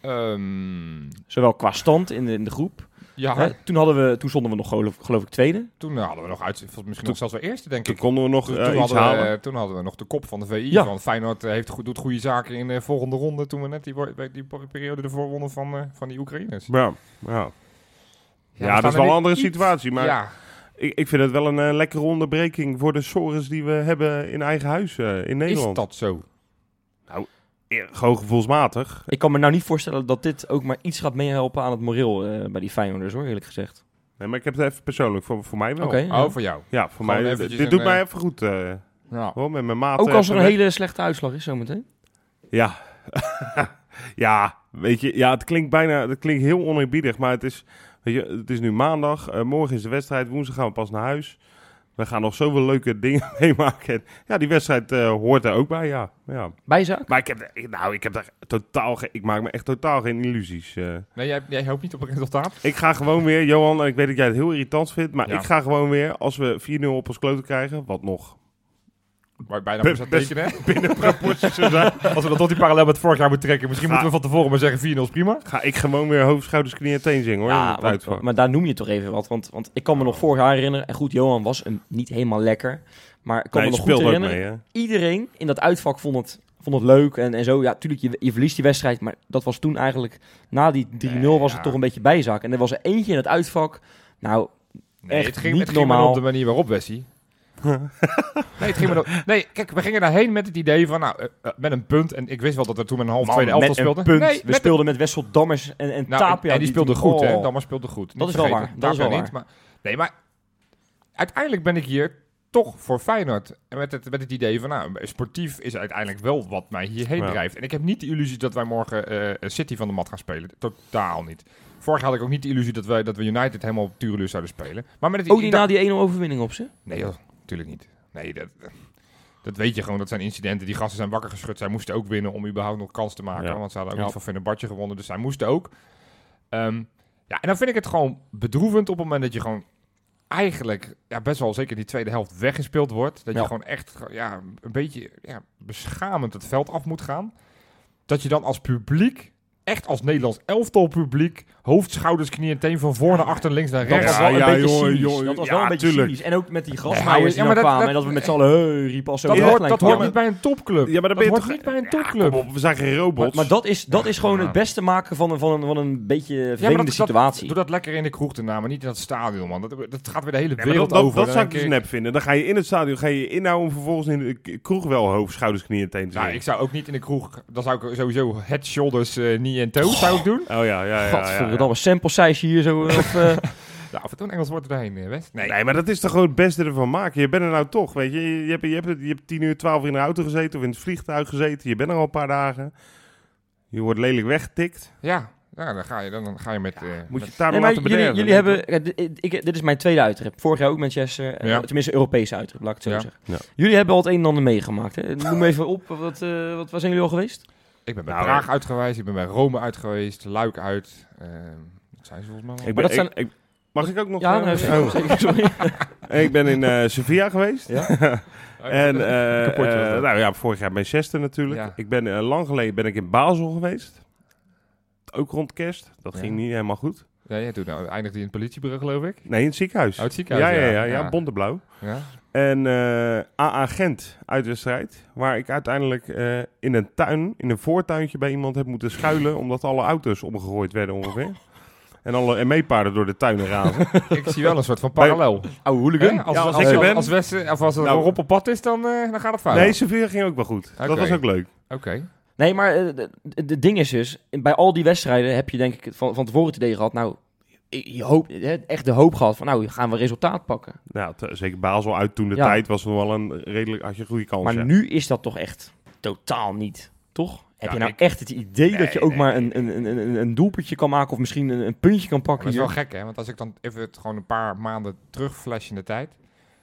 [SPEAKER 3] Ehm,
[SPEAKER 2] Zowel qua stand in de, in de groep.
[SPEAKER 1] Ah,
[SPEAKER 3] ja,
[SPEAKER 2] Hè, toen, hadden we, toen stonden we nog geloof, geloof ik tweede.
[SPEAKER 3] toen hadden we nog uit, volgens- misschien nog zelfs wel eerste, denk
[SPEAKER 1] Toen
[SPEAKER 3] ik.
[SPEAKER 1] konden we nog
[SPEAKER 3] Toen,
[SPEAKER 1] eh,
[SPEAKER 3] toen
[SPEAKER 1] iets
[SPEAKER 3] hadden we,
[SPEAKER 1] halen.
[SPEAKER 3] eh, toen hadden we nog de kop van de VI.
[SPEAKER 2] Ja.
[SPEAKER 3] Van Feyenoord eh, heeft, goed- doet goede zaken in de volgende ronde. Toen we net die, wo- die po- periode ervoor wonnen van, eh, van die Oekraïners.
[SPEAKER 1] ja, ja.
[SPEAKER 3] we
[SPEAKER 1] Ja,
[SPEAKER 3] staan
[SPEAKER 1] dat is
[SPEAKER 3] er
[SPEAKER 1] wel een
[SPEAKER 3] nu
[SPEAKER 1] andere
[SPEAKER 3] iets-
[SPEAKER 1] situatie. Maar
[SPEAKER 3] ja,
[SPEAKER 1] ik, ik vind het wel een eh, lekkere onderbreking voor de sores die we hebben in eigen huis eh, in
[SPEAKER 3] is
[SPEAKER 1] Nederland.
[SPEAKER 3] dat zo?
[SPEAKER 1] Eh, Gewoon gevoelsmatig.
[SPEAKER 2] Ik kan me nou niet voorstellen dat dit ook maar iets gaat meehelpen aan het moreel eh, bij die Feyenoorders hoor, eerlijk gezegd.
[SPEAKER 1] Nee, maar ik heb het even persoonlijk, voor, voor mij wel.
[SPEAKER 2] Oké. ja.
[SPEAKER 3] Oh, voor jou.
[SPEAKER 1] Ja, voor
[SPEAKER 3] Gewoon
[SPEAKER 1] mij.
[SPEAKER 3] eventjes
[SPEAKER 1] Dit
[SPEAKER 3] een,
[SPEAKER 1] doet
[SPEAKER 3] eh,
[SPEAKER 1] mij even goed. eh,
[SPEAKER 3] Ja.
[SPEAKER 1] hoor, met mijn maat.
[SPEAKER 2] Ook als er een
[SPEAKER 1] hele
[SPEAKER 2] hele slechte uitslag is zometeen.
[SPEAKER 1] Ja. ja, weet je, ja, het klinkt bijna, het klinkt heel oneerbiedig, maar het is, weet je, het is nu maandag, eh, morgen is de wedstrijd, woensdag gaan we pas naar huis. We gaan nog zoveel leuke dingen meemaken. En Ja, die wedstrijd eh, hoort er ook bij, ja. ja.
[SPEAKER 2] Bijzaak?
[SPEAKER 1] Maar ik heb, er- ik- nou, ik heb daar totaal, ge- ik maak me echt totaal geen illusies. eh.
[SPEAKER 3] Nee, jij, jij hoopt niet op een resultaat?
[SPEAKER 1] Ik ga gewoon weer, Johan, en ik weet dat jij het heel irritant vindt, maar
[SPEAKER 3] Ja.
[SPEAKER 1] ik ga gewoon weer, als we 4-0 op ons kloten krijgen, wat nog
[SPEAKER 3] Maar bijna
[SPEAKER 1] Best-
[SPEAKER 3] moest dat tekenen. hè?
[SPEAKER 1] binnen proporties zou zijn, Ah.
[SPEAKER 3] Als we dan tot die parallel met vorig jaar moeten trekken. Misschien
[SPEAKER 1] Ja.
[SPEAKER 3] moeten we van tevoren maar zeggen 4-0 is prima.
[SPEAKER 1] ga ik gewoon weer hoofd, schouders, knieën en teen zingen, hoor. in
[SPEAKER 2] Ja,
[SPEAKER 1] het
[SPEAKER 2] want-
[SPEAKER 1] uitvak.
[SPEAKER 2] maar daar noem je toch even wat. Want, want ik kan me nog
[SPEAKER 1] Oh.
[SPEAKER 2] vorig jaar herinneren. En goed, Johan was een, niet helemaal lekker. Maar ik kan
[SPEAKER 1] Nee,
[SPEAKER 2] me nog goed
[SPEAKER 1] speelde ook
[SPEAKER 2] herinneren.
[SPEAKER 1] mee, hè.
[SPEAKER 2] Iedereen in dat uitvak vond het, vond het leuk. En, en zo, ja, tuurlijk, je, je verliest die wedstrijd. Maar dat was toen eigenlijk, na die 3-0 was het
[SPEAKER 3] Ja.
[SPEAKER 2] toch een beetje bijzaak. En er was er eentje in het uitvak. Nou,
[SPEAKER 3] Nee,
[SPEAKER 2] Echt
[SPEAKER 3] het ging,
[SPEAKER 2] niet
[SPEAKER 3] het ging maar
[SPEAKER 2] normaal.
[SPEAKER 3] op de manier waarop, Wessie. nee, het ging maar op- nee, kijk, we gingen daarheen met het idee van, nou, eh, eh, met een punt. En ik wist wel dat we toen met een half tweede elftal
[SPEAKER 2] met een
[SPEAKER 3] speelden.
[SPEAKER 2] punt.
[SPEAKER 3] Nee,
[SPEAKER 2] we
[SPEAKER 3] met een-
[SPEAKER 2] speelden met Wessel Dammers en, en
[SPEAKER 3] nou, en-
[SPEAKER 2] Tapia.
[SPEAKER 3] En die speelde
[SPEAKER 2] toen-
[SPEAKER 3] goed, hè.
[SPEAKER 2] oh.
[SPEAKER 3] Dammer speelde goed.
[SPEAKER 2] Dat is wel waar, dat is wel
[SPEAKER 3] Tapia niet, maar, nee, maar uiteindelijk ben ik hier toch voor Feyenoord. En met het, met het idee van, nou, sportief is uiteindelijk wel wat mij hierheen
[SPEAKER 1] Ja.
[SPEAKER 3] drijft. En ik heb niet de illusie dat wij morgen eh, City van de mat gaan spelen. Totaal niet. Vorig jaar had ik ook niet de illusie dat, wij, dat we United helemaal op Tureluur zouden spelen. Maar met het
[SPEAKER 2] Ook
[SPEAKER 3] idee-
[SPEAKER 2] niet na Oh, die 1-0 overwinning op ze.
[SPEAKER 3] Nee, joh, natuurlijk niet. Nee, dat, dat weet je gewoon. Dat zijn incidenten. Die gasten zijn wakker geschud. Zij moesten ook winnen om überhaupt nog kans te maken.
[SPEAKER 1] Ja.
[SPEAKER 3] Want ze hadden ook
[SPEAKER 2] Ja.
[SPEAKER 3] niet van Fenerbahce gewonnen. Dus zij moesten ook. Ehm, ja, en dan vind ik het gewoon bedroevend op het moment dat je gewoon eigenlijk ja, best wel zeker die tweede helft weggespeeld wordt. Dat
[SPEAKER 2] Ja.
[SPEAKER 3] je gewoon echt ge- ja, een beetje ja, beschamend het veld af moet gaan. Dat je dan als publiek, echt als Nederlands elftal publiek, hoofd, schouders, knieën, teen van voor naar achter, links naar
[SPEAKER 2] Dat
[SPEAKER 3] rechts.
[SPEAKER 2] was wel een
[SPEAKER 1] ja,
[SPEAKER 2] beetje
[SPEAKER 1] jongen,
[SPEAKER 2] cynisch.
[SPEAKER 1] jongen,
[SPEAKER 2] dat was
[SPEAKER 1] ja,
[SPEAKER 2] wel een beetje
[SPEAKER 1] tuurlijk.
[SPEAKER 2] cynisch. En ook met die
[SPEAKER 3] Ja,
[SPEAKER 2] gasthouwers die dan
[SPEAKER 3] ja, maar dat-
[SPEAKER 2] kwamen.
[SPEAKER 3] dat-
[SPEAKER 2] en dat we met z'n allen hey, riepen als zo.
[SPEAKER 3] Dat,
[SPEAKER 2] de
[SPEAKER 3] hoort,
[SPEAKER 2] achterlijn
[SPEAKER 3] dat hoort
[SPEAKER 2] kwamen.
[SPEAKER 3] niet bij een topclub.
[SPEAKER 1] Ja, maar dan
[SPEAKER 3] dat
[SPEAKER 1] ben je
[SPEAKER 3] hoort
[SPEAKER 1] toch-
[SPEAKER 3] niet bij een
[SPEAKER 1] Ja,
[SPEAKER 3] topclub.
[SPEAKER 1] kom op, we zijn geen robots.
[SPEAKER 2] Maar, maar dat is, dat is gewoon
[SPEAKER 3] Ja.
[SPEAKER 2] het beste maken van een, van een, van een beetje vervelende
[SPEAKER 3] maar dat- dat-
[SPEAKER 2] situatie.
[SPEAKER 3] Doe dat lekker in de kroeg daarna, maar niet in dat stadion, man. Dat, dat gaat weer de hele
[SPEAKER 1] Nee, maar
[SPEAKER 3] wereld
[SPEAKER 1] dat, dat,
[SPEAKER 3] over.
[SPEAKER 1] dat
[SPEAKER 3] Dan
[SPEAKER 1] zou ik
[SPEAKER 3] denk
[SPEAKER 1] dus nep vinden. Dan ga je in het stadion ga je inhouden om vervolgens in de k- kroeg wel hoofd, schouders, knieën en teen te
[SPEAKER 3] Nou,
[SPEAKER 1] zingen.
[SPEAKER 3] ik zou ook niet in de kroeg... Dan zou ik sowieso head, shoulders, eh knee en toe zou ik doen.
[SPEAKER 1] Oh ja, ja, ja. ja, ja,
[SPEAKER 2] Gadverdamme, sample size hier zo. eh, Of, eh,
[SPEAKER 3] Nou, af en toe een Engels woord erheen, eh, West.
[SPEAKER 1] Nee. maar dat is toch gewoon het beste ervan maken. Je bent er nou toch, weet je. Je, je hebt, je, hebt, je hebt 10 uur, 12 uur in de auto gezeten of in het vliegtuig gezeten. Je bent er al een paar dagen. Je wordt lelijk weggetikt.
[SPEAKER 3] Ja, ja dan, ga je, dan, dan ga je met... eh,
[SPEAKER 1] Moet je
[SPEAKER 3] met-
[SPEAKER 1] het daarom
[SPEAKER 2] nee, maar
[SPEAKER 1] laten
[SPEAKER 2] jullie,
[SPEAKER 1] bederven.
[SPEAKER 2] jullie hebben, eh, dit- ik, dit is mijn tweede uittrip. Vorig jaar ook Manchester. eh,
[SPEAKER 3] Ja.
[SPEAKER 2] Tenminste, Europese uittrip, laat ik het zo
[SPEAKER 3] Ja.
[SPEAKER 2] zeggen.
[SPEAKER 1] Ja.
[SPEAKER 2] Jullie hebben al het een en ander meegemaakt. Hè? Noem even op, wat, eh, wat, waar zijn jullie al geweest?
[SPEAKER 3] ik Ik ben bij
[SPEAKER 1] Nou,
[SPEAKER 3] Praag uit geweest, ik ben bij Rome uit geweest, Luik uit. Ehm, dat zijn ze volgens mij wel.
[SPEAKER 1] Ik ben,
[SPEAKER 2] dat
[SPEAKER 1] ik-
[SPEAKER 2] zijn-
[SPEAKER 1] ik- mag ik ook nog?
[SPEAKER 2] Ja,
[SPEAKER 1] eh,
[SPEAKER 2] nee, zeker,
[SPEAKER 1] oh.
[SPEAKER 2] zeker, sorry.
[SPEAKER 1] ik ben in eh, Sevilla geweest. En eh,
[SPEAKER 3] Oh Kapotje was
[SPEAKER 1] eh,
[SPEAKER 3] dat.
[SPEAKER 1] nou ja, vorig jaar Manchester natuurlijk.
[SPEAKER 3] Ja.
[SPEAKER 1] Ik ben eh, lang geleden ben ik in Basel geweest. Ook rond kerst. Dat
[SPEAKER 3] Ja.
[SPEAKER 1] ging niet helemaal goed.
[SPEAKER 3] Ja, jij doet nou, eindigde in het politiebureau, geloof ik.
[SPEAKER 1] Nee, in het ziekenhuis.
[SPEAKER 3] Oh, het ziekenhuis,
[SPEAKER 1] ja, ja,
[SPEAKER 3] ja.
[SPEAKER 1] ja, ja,
[SPEAKER 3] Ja.
[SPEAKER 1] Bonteblauw.
[SPEAKER 3] Ja.
[SPEAKER 1] En eh AA Gent uitwedstrijd. Waar ik uiteindelijk eh, in een tuin, in een voortuintje bij iemand heb moeten schuilen. Omdat alle auto's omgegooid werden ongeveer. En alle ME-paarden door de tuinen razen.
[SPEAKER 3] Ik zie wel een soort van parallel.
[SPEAKER 2] Oude
[SPEAKER 3] Hè? Als,
[SPEAKER 1] Ja,
[SPEAKER 3] als,
[SPEAKER 1] als
[SPEAKER 3] als,
[SPEAKER 1] ik er ben.
[SPEAKER 3] als Westen- of als het
[SPEAKER 1] Nou.
[SPEAKER 3] Rob op pad is, dan, eh, dan gaat het fout.
[SPEAKER 1] Nee, Sevilla ging ook wel goed. Dat
[SPEAKER 3] Oké.
[SPEAKER 1] was ook leuk.
[SPEAKER 3] Oké. Oh,
[SPEAKER 2] Nee, maar eh, het ding is dus, bij al die wedstrijden heb je denk ik het van, van tevoren het idee gehad, nou, je je hoop, hè, echt de hoop gehad van, nou, gaan we resultaat pakken.
[SPEAKER 1] Nou, t- zeker Basel uit toen de
[SPEAKER 2] Ja.
[SPEAKER 1] tijd was nog wel een redelijk, had je een goede kans.
[SPEAKER 2] Maar
[SPEAKER 1] ja.
[SPEAKER 2] nu is dat toch echt totaal niet, toch? Heb
[SPEAKER 1] Ja,
[SPEAKER 2] je nou
[SPEAKER 1] ik-
[SPEAKER 2] echt het idee dat je
[SPEAKER 1] Nee,
[SPEAKER 2] ook
[SPEAKER 1] nee,
[SPEAKER 2] maar een, een, een, een, een doelpuntje kan maken of misschien een, een puntje kan
[SPEAKER 3] Maar
[SPEAKER 2] pakken?
[SPEAKER 3] dat is wel
[SPEAKER 2] hier?
[SPEAKER 3] gek, hè? Want als ik dan even het gewoon een paar maanden terugflash in de tijd.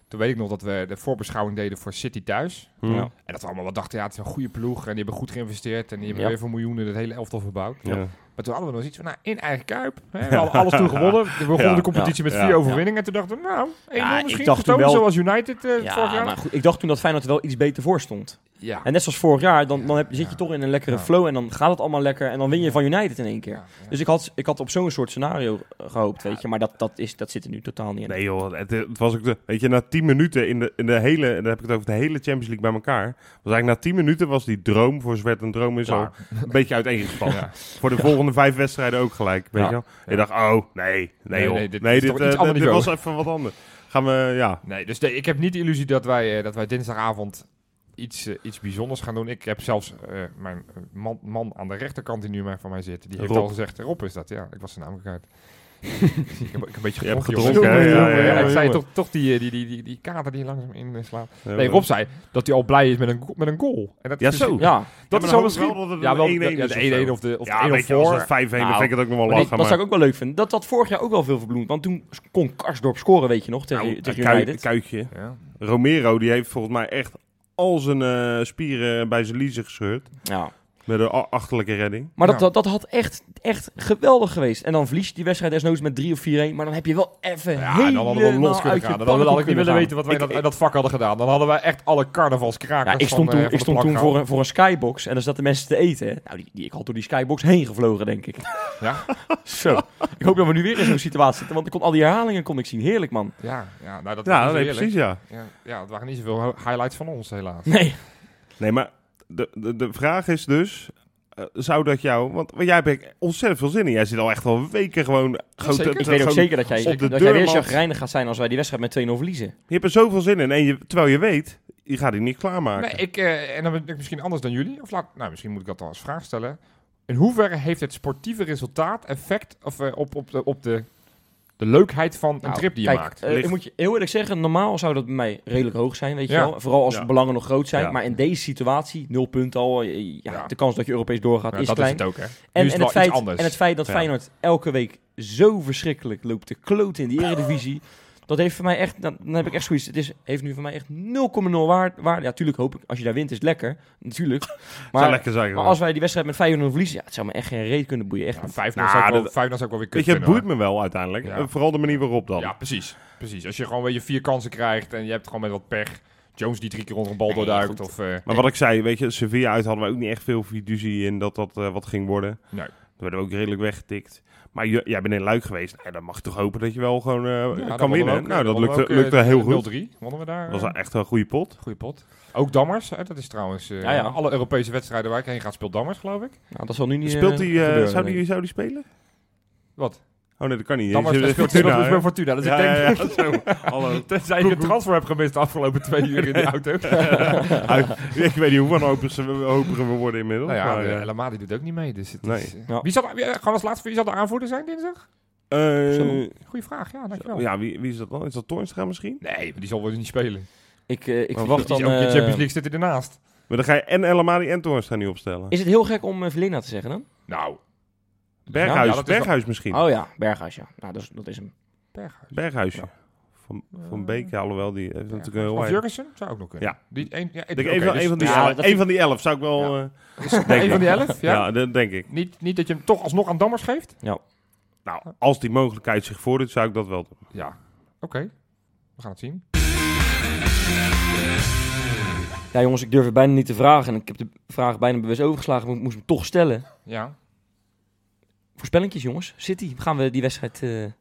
[SPEAKER 3] Toen weet ik nog dat we de voorbeschouwing deden voor City thuis.
[SPEAKER 1] Hm.
[SPEAKER 2] Ja.
[SPEAKER 3] En dat we allemaal wel dachten, ja, het is een goede ploeg. En die hebben goed geïnvesteerd. En die hebben
[SPEAKER 2] Ja.
[SPEAKER 3] weer voor miljoenen het hele elftal verbouwd.
[SPEAKER 1] Ja.
[SPEAKER 3] Maar toen hadden we nog iets van, nou, in eigen kuip. Hè? We hadden alles toen gewonnen. We begonnen
[SPEAKER 1] Ja.
[SPEAKER 3] de competitie met
[SPEAKER 1] Ja.
[SPEAKER 3] vier overwinningen. En toen dachten we, nou, 1-0
[SPEAKER 2] Ja, ik
[SPEAKER 3] misschien.
[SPEAKER 2] dacht
[SPEAKER 3] Gestolen
[SPEAKER 2] toen wel-
[SPEAKER 3] zoals United eh, vorig
[SPEAKER 2] Ja,
[SPEAKER 3] jaar.
[SPEAKER 2] maar goed, ik dacht toen dat Feyenoord er wel iets beter voor stond.
[SPEAKER 3] Ja.
[SPEAKER 2] En net zoals vorig jaar, dan, dan heb, zit je
[SPEAKER 3] Ja.
[SPEAKER 2] toch in een lekkere
[SPEAKER 3] Ja.
[SPEAKER 2] flow en dan gaat het allemaal lekker en dan win je van United in één keer.
[SPEAKER 3] Ja, ja.
[SPEAKER 2] Dus ik had, ik had op zo'n soort scenario eh, gehoopt, weet je. Maar dat, dat, is, dat zit er nu totaal niet in.
[SPEAKER 1] Nee joh, het, het was ook de, weet je, na 10 minuten in de, in de hele, en dan heb ik het over de hele Champions League bij elkaar. Was eigenlijk na 10 minuten was die droom voor Zwert een droom is al
[SPEAKER 3] Klaar.
[SPEAKER 1] een beetje uiteengespannen.
[SPEAKER 3] Ja.
[SPEAKER 1] Voor de volgende vijf wedstrijden ook gelijk, weet
[SPEAKER 2] Ja.
[SPEAKER 1] je wel. Ik dacht, oh, nee, nee
[SPEAKER 3] Nee,
[SPEAKER 1] joh.
[SPEAKER 3] nee,
[SPEAKER 1] Nee,
[SPEAKER 3] dit
[SPEAKER 1] dit,
[SPEAKER 3] is toch
[SPEAKER 1] eh,
[SPEAKER 3] iets ander
[SPEAKER 1] dit
[SPEAKER 3] niveau.
[SPEAKER 1] was even wat anders. Gaan we, ja.
[SPEAKER 3] Nee, dus nee, ik heb niet de illusie dat wij, eh, dat wij dinsdagavond iets, eh, iets bijzonders gaan doen. Ik heb zelfs eh, mijn eh, man, man aan de rechterkant die nu maar van mij zit. Die heeft
[SPEAKER 1] Rob.
[SPEAKER 3] al gezegd, eh, Rob is dat. Ja, ik was zijn naam kwijt. ik, heb, ik heb een beetje
[SPEAKER 1] Je hebt
[SPEAKER 3] gedronken,
[SPEAKER 1] gedronken,
[SPEAKER 3] jongen.
[SPEAKER 1] hè? Ja,
[SPEAKER 3] Jongen,
[SPEAKER 1] ja, ja,
[SPEAKER 3] ik
[SPEAKER 1] ja,
[SPEAKER 3] zei
[SPEAKER 1] jongen.
[SPEAKER 3] toch, toch die, eh, die, die, die, die kater die langzaam inslaat. Nee, Rob zei dat hij al blij is met een, go- met een goal. En dat
[SPEAKER 1] Ja,
[SPEAKER 3] is
[SPEAKER 1] zo.
[SPEAKER 3] misschien-
[SPEAKER 1] Ja,
[SPEAKER 2] Ja,
[SPEAKER 3] Dat
[SPEAKER 1] maar dan
[SPEAKER 3] is al
[SPEAKER 1] hoop ik
[SPEAKER 3] misschien...
[SPEAKER 1] wel dat het
[SPEAKER 3] ja,
[SPEAKER 1] een
[SPEAKER 3] wel
[SPEAKER 1] 1-1
[SPEAKER 3] ja,
[SPEAKER 1] is
[SPEAKER 3] de
[SPEAKER 1] of
[SPEAKER 3] 1-1
[SPEAKER 1] zo.
[SPEAKER 3] of de of
[SPEAKER 1] Ja,
[SPEAKER 3] de 1-0
[SPEAKER 1] weet je, als
[SPEAKER 3] voor.
[SPEAKER 1] het 5-1, dan
[SPEAKER 2] Nou,
[SPEAKER 1] vind ik het ook nog wel
[SPEAKER 2] Maar die-
[SPEAKER 1] lachen.
[SPEAKER 2] dat zou
[SPEAKER 1] Maar
[SPEAKER 2] ik ook wel leuk vinden. Dat had vorig jaar ook wel veel verbloemd. Want toen kon Karsdorp scoren, weet je nog, tegen,
[SPEAKER 1] Nou,
[SPEAKER 2] tegen
[SPEAKER 1] een kui-
[SPEAKER 2] United.
[SPEAKER 1] kuitje.
[SPEAKER 3] Ja.
[SPEAKER 1] Romero, die heeft volgens mij echt al zijn eh, spieren bij zijn liezen gescheurd.
[SPEAKER 2] Ja.
[SPEAKER 1] Met een a- achterlijke redding.
[SPEAKER 2] Maar
[SPEAKER 3] Ja.
[SPEAKER 2] dat, dat, dat had echt, echt geweldig geweest. En dan verlies je die wedstrijd desnoods met 3 of 4-1. Maar dan heb je wel even
[SPEAKER 3] Ja,
[SPEAKER 2] helemaal
[SPEAKER 3] dan hadden we los kunnen
[SPEAKER 2] uit
[SPEAKER 3] gaan.
[SPEAKER 2] je
[SPEAKER 3] Dan had ik
[SPEAKER 2] pannenkoek
[SPEAKER 3] niet willen
[SPEAKER 2] kunnen
[SPEAKER 3] weten wat wij
[SPEAKER 2] Ik-
[SPEAKER 3] dat,
[SPEAKER 2] ik-
[SPEAKER 3] dat vak hadden gedaan. Dan hadden wij echt alle carnavalskrakers
[SPEAKER 2] Ja, Nou, ik stond
[SPEAKER 3] van, eh,
[SPEAKER 2] toen,
[SPEAKER 3] van
[SPEAKER 2] ik
[SPEAKER 3] de
[SPEAKER 2] stond
[SPEAKER 3] plank
[SPEAKER 2] toen
[SPEAKER 3] gehaald.
[SPEAKER 2] voor, een, voor een skybox en daar zaten mensen te eten. hè. Nou, die, die, ik had door die skybox heen gevlogen, denk ik.
[SPEAKER 3] Ja.
[SPEAKER 2] Zo. Ik hoop dat we nu weer in zo'n situatie zitten, want ik kon al die herhalingen kon ik zien. Heerlijk, man.
[SPEAKER 3] Ja, ja, nou, dat was
[SPEAKER 1] Ja,
[SPEAKER 3] niet zo
[SPEAKER 1] nee,
[SPEAKER 3] eerlijk.
[SPEAKER 1] precies ja.
[SPEAKER 3] Ja, ja, het waren niet zoveel hi- highlights van ons, helaas.
[SPEAKER 2] Nee.
[SPEAKER 1] Nee, maar de, de, de vraag is dus... eh, zou dat jou... Want jij hebt echt ontzettend veel zin in. Jij zit al echt al weken gewoon... grote-
[SPEAKER 3] zeker. Ik
[SPEAKER 2] Ik weet ook
[SPEAKER 1] gewoon-
[SPEAKER 2] zeker dat jij,
[SPEAKER 1] op de
[SPEAKER 2] dat jij weer
[SPEAKER 1] deurmat.
[SPEAKER 2] chagrijnig gaat zijn als wij die wedstrijd met 2-0 verliezen.
[SPEAKER 1] Je hebt er zoveel zin in. En je, terwijl je weet, je gaat die niet klaarmaken.
[SPEAKER 3] Nee, ik, eh, en dan ben ik misschien anders dan jullie. Of laat, nou, misschien moet ik dat dan als vraag stellen. In hoeverre heeft het sportieve resultaat effect of, eh, op, op, de, op de, de leukheid van een
[SPEAKER 2] Nou,
[SPEAKER 3] trip die je
[SPEAKER 2] kijk,
[SPEAKER 3] maakt?
[SPEAKER 2] eh,
[SPEAKER 1] Ligt-
[SPEAKER 2] ik moet je heel eerlijk zeggen, normaal zou dat bij mij redelijk hoog zijn, weet
[SPEAKER 3] Ja.
[SPEAKER 2] je wel. Vooral als
[SPEAKER 1] Ja.
[SPEAKER 2] de belangen nog groot zijn.
[SPEAKER 1] Ja.
[SPEAKER 2] Maar in deze situatie, nul punten al, eh, ja,
[SPEAKER 3] Ja.
[SPEAKER 2] de kans dat je Europees doorgaat
[SPEAKER 3] Nou,
[SPEAKER 2] is
[SPEAKER 3] dat
[SPEAKER 2] klein.
[SPEAKER 3] is het ook, hè?
[SPEAKER 2] en,
[SPEAKER 3] nu is het
[SPEAKER 2] en,
[SPEAKER 3] wel
[SPEAKER 2] het
[SPEAKER 3] iets
[SPEAKER 2] feit,
[SPEAKER 3] anders.
[SPEAKER 2] en het feit dat
[SPEAKER 1] Ja.
[SPEAKER 2] Feyenoord elke week zo verschrikkelijk loopt te kloten in die eredivisie. dat heeft voor mij echt, dan, dan heb ik echt zoiets, het is, heeft nu voor mij echt 0,0 waarde. Waar, ja, tuurlijk hoop ik, als je daar wint is het lekker, natuurlijk.
[SPEAKER 1] zou
[SPEAKER 2] Maar,
[SPEAKER 1] lekker zijn
[SPEAKER 2] maar
[SPEAKER 1] gewoon.
[SPEAKER 2] als wij die wedstrijd met 5-0 verliezen, ja, het zou me echt geen reet kunnen boeien. Echt
[SPEAKER 3] Ja, vijf
[SPEAKER 1] Nou,
[SPEAKER 3] nou,
[SPEAKER 1] dat-
[SPEAKER 3] zou ik wel weer
[SPEAKER 1] Weet
[SPEAKER 3] kut
[SPEAKER 1] je, het
[SPEAKER 3] vinden,
[SPEAKER 1] boeit me wel uiteindelijk.
[SPEAKER 3] Ja.
[SPEAKER 1] Eh, Vooral de manier waarop dan.
[SPEAKER 3] hoor. Ja, precies. precies. Als je gewoon weer je vier kansen krijgt en je hebt gewoon met wat pech... Jones die drie keer onder een bal
[SPEAKER 2] Nee,
[SPEAKER 3] doorduikt
[SPEAKER 2] goed.
[SPEAKER 3] of... eh,
[SPEAKER 1] Maar wat ik zei, weet je, Sevilla uit hadden we ook niet echt veel fiducie in dat dat eh, wat ging worden.
[SPEAKER 3] Nee.
[SPEAKER 1] Toen werden we ook redelijk weggetikt. Maar j- jij bent in Luik geweest. Nou, dan mag je toch hopen dat je wel gewoon eh,
[SPEAKER 3] Ja, dat
[SPEAKER 1] kan
[SPEAKER 3] wonnen we
[SPEAKER 1] winnen.
[SPEAKER 3] ook,
[SPEAKER 1] nou,
[SPEAKER 3] eh,
[SPEAKER 1] dat
[SPEAKER 3] wonnen we
[SPEAKER 1] lukte,
[SPEAKER 3] ook, eh,
[SPEAKER 1] lukte heel goed.
[SPEAKER 3] 0-3 wonnen we daar.
[SPEAKER 1] Dat was
[SPEAKER 3] eh,
[SPEAKER 1] wel echt een goede pot.
[SPEAKER 3] Goeie pot. Ook Dammers, hè? dat is trouwens... eh,
[SPEAKER 2] Ja, ja.
[SPEAKER 3] Alle Europese wedstrijden waar ik heen ga, speelt Dammers, geloof ik.
[SPEAKER 2] Nou, dat zal nu niet eh,
[SPEAKER 1] Speelt die, eh,
[SPEAKER 2] gebeuren,
[SPEAKER 1] zou,
[SPEAKER 2] denk
[SPEAKER 1] die, zou die spelen?
[SPEAKER 3] Wat?
[SPEAKER 1] Oh nee, dat kan niet.
[SPEAKER 3] Dammers
[SPEAKER 1] Je-
[SPEAKER 3] speelt
[SPEAKER 1] je- Fortuna,
[SPEAKER 3] speelt- speelt bij
[SPEAKER 1] hè?
[SPEAKER 3] Fortuna. Dus
[SPEAKER 1] Ja,
[SPEAKER 3] ik denk,
[SPEAKER 1] ja, ja, zo. Hallo.
[SPEAKER 3] tenzij je een transfer hebt gemist de afgelopen twee uur in die auto. nou
[SPEAKER 1] ik weet niet hoe wanhopiger we worden inmiddels.
[SPEAKER 3] Nou ja,
[SPEAKER 1] maar, eh,
[SPEAKER 3] de
[SPEAKER 1] ja.
[SPEAKER 3] Elamadi doet ook niet mee, dus het
[SPEAKER 1] Nee.
[SPEAKER 3] is... eh,
[SPEAKER 2] Ja.
[SPEAKER 3] Wie zal, wie- eh, gewoon als laatste, wie zal de aanvoerder zijn dinsdag?
[SPEAKER 1] Eh,
[SPEAKER 2] Zo.
[SPEAKER 3] Goeie vraag, ja, dankjewel.
[SPEAKER 1] ja, wie, wie is dat dan? Is dat Toornstra misschien?
[SPEAKER 3] Nee, maar die zal wel niet spelen.
[SPEAKER 2] Ik, eh, ik
[SPEAKER 1] Maar
[SPEAKER 2] verwacht dan...
[SPEAKER 3] Die is ook in de
[SPEAKER 2] eh,
[SPEAKER 3] Champions League zitten ernaast.
[SPEAKER 1] Maar dan ga je en Elamadi en Toornstra niet opstellen.
[SPEAKER 2] Is het heel gek om eh, Verlina te zeggen dan?
[SPEAKER 3] Nou,
[SPEAKER 1] Berghuis,
[SPEAKER 3] dat is wel- Oh.
[SPEAKER 1] Berghuis misschien.
[SPEAKER 2] Oh ja, Berghuis, ja. Nou, dat is, dat is hem.
[SPEAKER 3] Berghuis.
[SPEAKER 1] Berghuisje. Van, van Beek, ja, alhoewel, die eh, heeft natuurlijk een heel
[SPEAKER 3] Of
[SPEAKER 1] weinig.
[SPEAKER 3] Jurgensen zou ook nog kunnen.
[SPEAKER 1] Ja.
[SPEAKER 3] Die, een, ja,
[SPEAKER 1] Ik denk
[SPEAKER 3] oké,
[SPEAKER 1] even,
[SPEAKER 3] dus-
[SPEAKER 1] een van die
[SPEAKER 3] dus-
[SPEAKER 2] Ja,
[SPEAKER 1] elf,
[SPEAKER 2] dat-
[SPEAKER 1] een van die elf zou ik wel...
[SPEAKER 3] Ja.
[SPEAKER 1] eh,
[SPEAKER 3] Een
[SPEAKER 1] denk ik.
[SPEAKER 3] van die elf, ja.
[SPEAKER 1] ja. dat denk ik.
[SPEAKER 3] Niet, niet dat je hem toch alsnog aan Dammers geeft?
[SPEAKER 1] Nou, als die mogelijkheid zich voordoet, zou ik dat wel doen.
[SPEAKER 3] Ja. Oké, we gaan het zien.
[SPEAKER 2] Ja, jongens, ik durf het bijna niet te vragen. En ik heb de vraag bijna bewust overgeslagen, maar ik moest hem toch stellen.
[SPEAKER 3] Ja.
[SPEAKER 2] Voorspellingjes, jongens. City, gaan we die wedstrijd eh,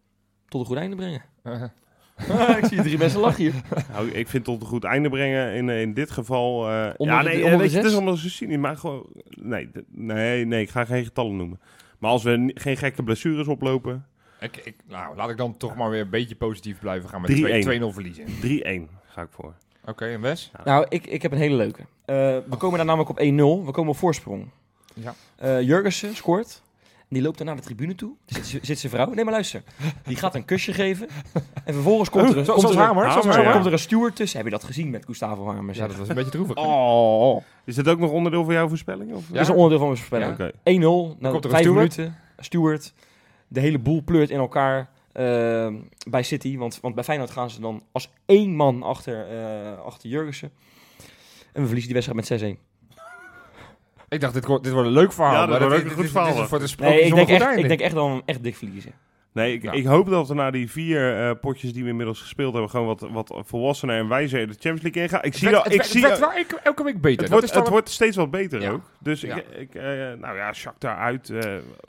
[SPEAKER 2] tot een goed einde brengen?
[SPEAKER 3] Eh,
[SPEAKER 2] ik zie drie mensen lachen hier.
[SPEAKER 1] Nou, ik vind tot een goed einde brengen in, in dit geval... eh,
[SPEAKER 2] Onder
[SPEAKER 1] ja,
[SPEAKER 2] de-
[SPEAKER 1] nee,
[SPEAKER 2] onder de
[SPEAKER 1] eh, weet je, het
[SPEAKER 2] zes?
[SPEAKER 1] is allemaal zo cynisch, maar gewoon... Nee, d- nee, nee, ik ga geen getallen noemen. Maar als we ni- geen gekke blessures oplopen, 3-1
[SPEAKER 3] ik, ik, nou, laat ik dan toch maar weer een beetje positief blijven gaan met 2- 2-0
[SPEAKER 1] 3-1.
[SPEAKER 3] verliezen.
[SPEAKER 1] ga ik voor.
[SPEAKER 3] Oké, en Wes?
[SPEAKER 2] Nou, ik, ik heb een hele leuke. Eh, we komen daar namelijk op 1-0. We komen op voorsprong.
[SPEAKER 3] Ja.
[SPEAKER 2] Eh, Jurgensen scoort. En die loopt dan naar de tribune toe. Zit, ze- zit zijn vrouw. Nee, maar luister. Die gaat een kusje geven. En vervolgens komt er een,
[SPEAKER 3] Oh, Zo-
[SPEAKER 2] komt
[SPEAKER 3] zoals
[SPEAKER 2] er, een-
[SPEAKER 3] Hamer, zoals
[SPEAKER 1] Hamer,
[SPEAKER 3] Hamer.
[SPEAKER 2] komt er een steward tussen. Heb je dat gezien met Gustavo Hamers?
[SPEAKER 3] Ja, dat was een beetje droevig.
[SPEAKER 2] Oh.
[SPEAKER 1] Is dat ook nog onderdeel van jouw voorspelling? Of?
[SPEAKER 3] Ja.
[SPEAKER 2] Dat is een onderdeel van
[SPEAKER 1] Oké.
[SPEAKER 2] mijn voorspelling.
[SPEAKER 1] Okay.
[SPEAKER 2] 1-0, na
[SPEAKER 3] komt er een
[SPEAKER 2] 5
[SPEAKER 3] steward.
[SPEAKER 2] minuten, Stuart. De hele boel pleurt in elkaar eh, bij City. Want, want bij Feyenoord gaan ze dan als één man achter, eh, achter Jurgensen. En we verliezen die wedstrijd
[SPEAKER 3] Oh,
[SPEAKER 2] met 6-1.
[SPEAKER 3] Ik dacht, dit, wordt- dit wordt een leuk verhaal.
[SPEAKER 1] Ja, dit
[SPEAKER 3] maar
[SPEAKER 1] wordt
[SPEAKER 3] dit-
[SPEAKER 1] ook een
[SPEAKER 3] dit-
[SPEAKER 1] goed
[SPEAKER 3] dit- dit
[SPEAKER 1] verhaal.
[SPEAKER 3] is voor de
[SPEAKER 2] Nee, ik denk,
[SPEAKER 3] zonder
[SPEAKER 2] echt,
[SPEAKER 3] gordijnen.
[SPEAKER 2] ik denk echt dan echt dik verliezen.
[SPEAKER 1] Nee, ik,
[SPEAKER 3] Ja.
[SPEAKER 1] ik hoop dat we na die vier eh, potjes die we inmiddels gespeeld hebben, gewoon wat, wat volwassener en wijzer de Champions League ingaan. Ik
[SPEAKER 3] Het
[SPEAKER 1] zie dat.
[SPEAKER 3] werd- het
[SPEAKER 1] ik
[SPEAKER 3] werd-
[SPEAKER 1] zie
[SPEAKER 3] het
[SPEAKER 1] dat-
[SPEAKER 3] werd wel elke, elke week beter.
[SPEAKER 1] het
[SPEAKER 3] Dat
[SPEAKER 1] wordt,
[SPEAKER 3] is dan
[SPEAKER 1] het wordt steeds wat beter
[SPEAKER 3] Ja.
[SPEAKER 1] ook. Dus
[SPEAKER 3] Ja.
[SPEAKER 1] ik, ik eh, nou ja, Jacques daaruit eh,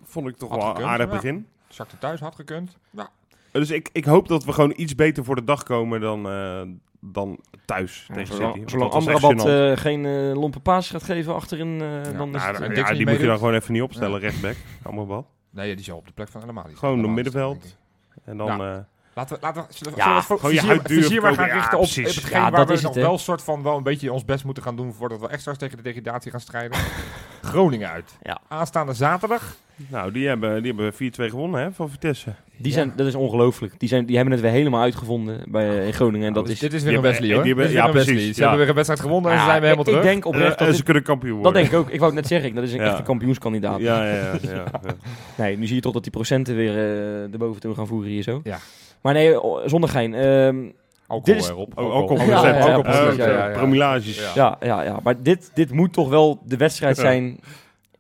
[SPEAKER 1] vond ik toch
[SPEAKER 3] Had
[SPEAKER 1] wel een
[SPEAKER 3] gekund,
[SPEAKER 1] aardig
[SPEAKER 3] ja.
[SPEAKER 1] begin.
[SPEAKER 3] een- Zakte thuis had gekund. Nou, Ja.
[SPEAKER 1] Dus ik, ik hoop dat we gewoon iets beter voor de dag komen dan, eh, dan thuis
[SPEAKER 2] Ja,
[SPEAKER 1] tegen City.
[SPEAKER 2] zolang
[SPEAKER 1] Want
[SPEAKER 2] zolang
[SPEAKER 1] dat was echt
[SPEAKER 2] Amrabat
[SPEAKER 1] gênant.
[SPEAKER 2] eh, geen eh, lompe paas gaat geven achterin, eh
[SPEAKER 3] Ja,
[SPEAKER 2] dan is
[SPEAKER 1] Nou,
[SPEAKER 2] het...
[SPEAKER 1] nou,
[SPEAKER 3] en
[SPEAKER 1] ja,
[SPEAKER 3] Dixie
[SPEAKER 1] die moet je dan
[SPEAKER 3] meedoet.
[SPEAKER 1] gewoon even niet opstellen, rechtback. Amrabat.
[SPEAKER 3] Nee, die is al op de plek van helemaal niet.
[SPEAKER 1] Gewoon op middenveld. En dan...
[SPEAKER 3] Ja.
[SPEAKER 1] eh,
[SPEAKER 3] Laten we, laten we, zullen we,
[SPEAKER 2] Ja,
[SPEAKER 3] zullen we het
[SPEAKER 1] gewoon je
[SPEAKER 3] vizier-
[SPEAKER 1] huid duur
[SPEAKER 3] vizier maar gaan
[SPEAKER 1] verkopen. Ja,
[SPEAKER 3] richten op, op
[SPEAKER 1] precies.
[SPEAKER 3] hetgeen
[SPEAKER 2] Ja,
[SPEAKER 3] waar
[SPEAKER 2] dat
[SPEAKER 3] we
[SPEAKER 2] is
[SPEAKER 3] nog
[SPEAKER 2] het, hè.
[SPEAKER 3] wel een soort van wel een beetje ons best moeten gaan doen voordat we extra's tegen de degradatie gaan strijden. Groningen uit.
[SPEAKER 2] Ja.
[SPEAKER 3] Aanstaande zaterdag.
[SPEAKER 1] nou, die hebben, die hebben 4-2 gewonnen hè, van Vitesse.
[SPEAKER 2] Die zijn, Dat is ongelooflijk. Die, zijn, die hebben het weer helemaal uitgevonden bij, in Groningen. En dat is...
[SPEAKER 3] dit is weer
[SPEAKER 1] Die
[SPEAKER 3] een
[SPEAKER 1] hebben-
[SPEAKER 3] Wesley hoor.
[SPEAKER 1] die hebben-
[SPEAKER 3] Dit is weer
[SPEAKER 1] ja,
[SPEAKER 3] een Wesley.
[SPEAKER 1] precies,
[SPEAKER 3] Ze
[SPEAKER 1] ja.
[SPEAKER 3] hebben weer een wedstrijd gewonnen en ze
[SPEAKER 2] Ja,
[SPEAKER 3] zijn weer helemaal
[SPEAKER 2] ik, ik
[SPEAKER 3] terug.
[SPEAKER 2] denk
[SPEAKER 1] Eh,
[SPEAKER 2] oprecht dat,
[SPEAKER 1] ze
[SPEAKER 2] dit-
[SPEAKER 1] kunnen kampioen
[SPEAKER 2] dat
[SPEAKER 1] worden.
[SPEAKER 2] denk ik ook. Ik wou het net zeggen, dat is een
[SPEAKER 1] Ja.
[SPEAKER 2] echte kampioenskandidaat.
[SPEAKER 1] Ja, ja, ja. ja.
[SPEAKER 2] Nee, nu zie je toch dat die procenten weer eh erboven toe gaan voeren hier zo.
[SPEAKER 3] Ja.
[SPEAKER 2] Maar nee, o- zonder gein. ehm,
[SPEAKER 3] Alcohol
[SPEAKER 2] Dit is-
[SPEAKER 3] erop.
[SPEAKER 1] Ook alcohol.
[SPEAKER 2] Ja,
[SPEAKER 1] procent.
[SPEAKER 2] ja, ja,
[SPEAKER 1] Ook op-
[SPEAKER 2] precies, ja,
[SPEAKER 1] eh,
[SPEAKER 3] ja, ja.
[SPEAKER 1] Promillages.
[SPEAKER 3] Ja.
[SPEAKER 2] ja, ja, ja. Maar dit, dit moet toch wel de wedstrijd
[SPEAKER 1] Ja.
[SPEAKER 2] zijn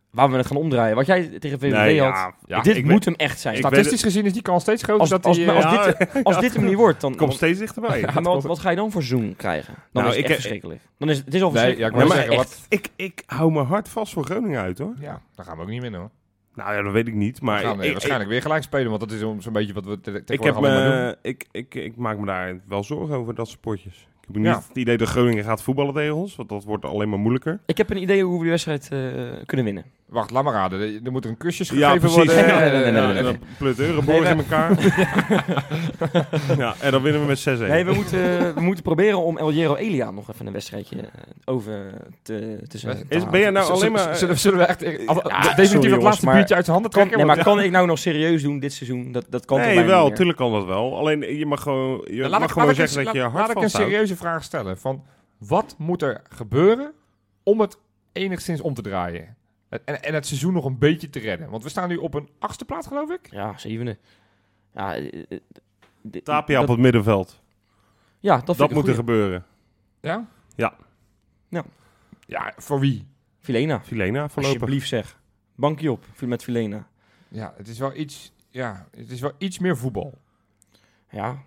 [SPEAKER 2] waar we het gaan omdraaien. Wat jij tegen VVV
[SPEAKER 1] Nee,
[SPEAKER 2] had,
[SPEAKER 1] ja, ja,
[SPEAKER 2] dit
[SPEAKER 1] ik
[SPEAKER 2] moet hem echt zijn.
[SPEAKER 1] ik
[SPEAKER 2] Als,
[SPEAKER 1] weet
[SPEAKER 3] Statistisch gezien is die kans steeds groter
[SPEAKER 2] als,
[SPEAKER 3] dat
[SPEAKER 2] als,
[SPEAKER 3] die... eh,
[SPEAKER 2] als
[SPEAKER 1] ja,
[SPEAKER 2] dit, als dit hem niet wordt, dan...
[SPEAKER 1] weet- komt steeds dichterbij.
[SPEAKER 2] dan- wat, wat ga je dan voor zoen krijgen? Dan
[SPEAKER 1] Nou,
[SPEAKER 2] is het
[SPEAKER 1] ik
[SPEAKER 2] echt
[SPEAKER 1] heb-
[SPEAKER 2] verschrikkelijk. Dan is, het is al
[SPEAKER 3] Nee, ja,
[SPEAKER 2] verschrikkelijk.
[SPEAKER 3] ik wou
[SPEAKER 2] Dan is
[SPEAKER 3] zeggen,
[SPEAKER 2] het
[SPEAKER 3] wat-
[SPEAKER 2] echt-
[SPEAKER 1] Ik, ik hou me hard vast voor Groningen uit, hoor.
[SPEAKER 3] Ja, daar gaan we ook niet winnen hoor.
[SPEAKER 1] Nou ja, dat weet ik niet. Maar
[SPEAKER 3] We gaan eh,
[SPEAKER 1] ik, ik,
[SPEAKER 3] waarschijnlijk weer gelijk spelen, want dat is zo'n zo'n beetje wat we te-
[SPEAKER 1] ik,
[SPEAKER 3] tegenwoordig
[SPEAKER 1] heb
[SPEAKER 3] allemaal doen.
[SPEAKER 1] me, ik, ik, ik maak me daar wel zorgen over, dat sportjes. Ik heb niet
[SPEAKER 3] Ja.
[SPEAKER 1] het idee dat Groningen gaat voetballen tegen ons, want dat wordt alleen maar moeilijker.
[SPEAKER 2] Ik heb een idee hoe we die wedstrijd eh, kunnen winnen.
[SPEAKER 3] Wacht, laat maar raden. Er- Er moet een kusjes
[SPEAKER 1] Ja,
[SPEAKER 3] gegeven
[SPEAKER 1] precies.
[SPEAKER 3] worden.
[SPEAKER 2] Nee,
[SPEAKER 3] Eh,
[SPEAKER 2] nee, nee, nee, nee, nee.
[SPEAKER 1] En dan plut Euroborg
[SPEAKER 2] Nee,
[SPEAKER 1] in elkaar. ja, en dan winnen we met 6-1.
[SPEAKER 2] Nee, we moeten, we moeten proberen om El Jero Elia nog even een wedstrijdje eh, over te, te zetten.
[SPEAKER 3] Is-
[SPEAKER 2] te
[SPEAKER 1] Is, ben je
[SPEAKER 2] halen.
[SPEAKER 1] nou
[SPEAKER 3] Zullen-
[SPEAKER 1] alleen maar...
[SPEAKER 3] Zullen, zullen we echt eh, af-
[SPEAKER 2] Ja,
[SPEAKER 3] definitief
[SPEAKER 2] sorry,
[SPEAKER 3] het
[SPEAKER 2] jongens,
[SPEAKER 3] laatste
[SPEAKER 2] maar-
[SPEAKER 3] biertje uit de handen
[SPEAKER 2] Kan,
[SPEAKER 3] trekken?
[SPEAKER 2] nee, maar
[SPEAKER 3] Want,
[SPEAKER 2] kan ik nou nog serieus doen dit seizoen? Dat, dat kan toch
[SPEAKER 1] nee,
[SPEAKER 2] bijna
[SPEAKER 1] wel,
[SPEAKER 2] niet meer?
[SPEAKER 1] tuurlijk kan dat wel. Alleen je mag gewoon, je
[SPEAKER 3] eh,
[SPEAKER 1] mag
[SPEAKER 3] laat ik-
[SPEAKER 1] gewoon
[SPEAKER 3] laat ik
[SPEAKER 1] zeggen dat
[SPEAKER 3] eens-
[SPEAKER 1] je je hart
[SPEAKER 3] laat- Laat ik een
[SPEAKER 1] vasthoudt.
[SPEAKER 3] serieuze vraag stellen. Van, wat moet er gebeuren om het enigszins om te draaien? En, en- en het seizoen nog een beetje te redden. Want we staan nu op een achtste plaats, geloof ik.
[SPEAKER 2] Ja, zevende. Ja, eh, eh, dit-
[SPEAKER 1] Tapia op
[SPEAKER 2] dat-
[SPEAKER 1] het middenveld.
[SPEAKER 2] Ja, dat, vind
[SPEAKER 1] Dat
[SPEAKER 2] ik
[SPEAKER 1] moet er
[SPEAKER 2] gebeuren.
[SPEAKER 1] gebeuren.
[SPEAKER 3] Ja?
[SPEAKER 1] Ja.
[SPEAKER 2] Ja.
[SPEAKER 3] Ja, voor wie?
[SPEAKER 2] Filena,
[SPEAKER 1] Filena voorlopig.
[SPEAKER 2] alsjeblieft zeg. Bankje op met Filena.
[SPEAKER 3] Ja, het is wel iets, ja, het is wel iets meer voetbal.
[SPEAKER 2] Ja,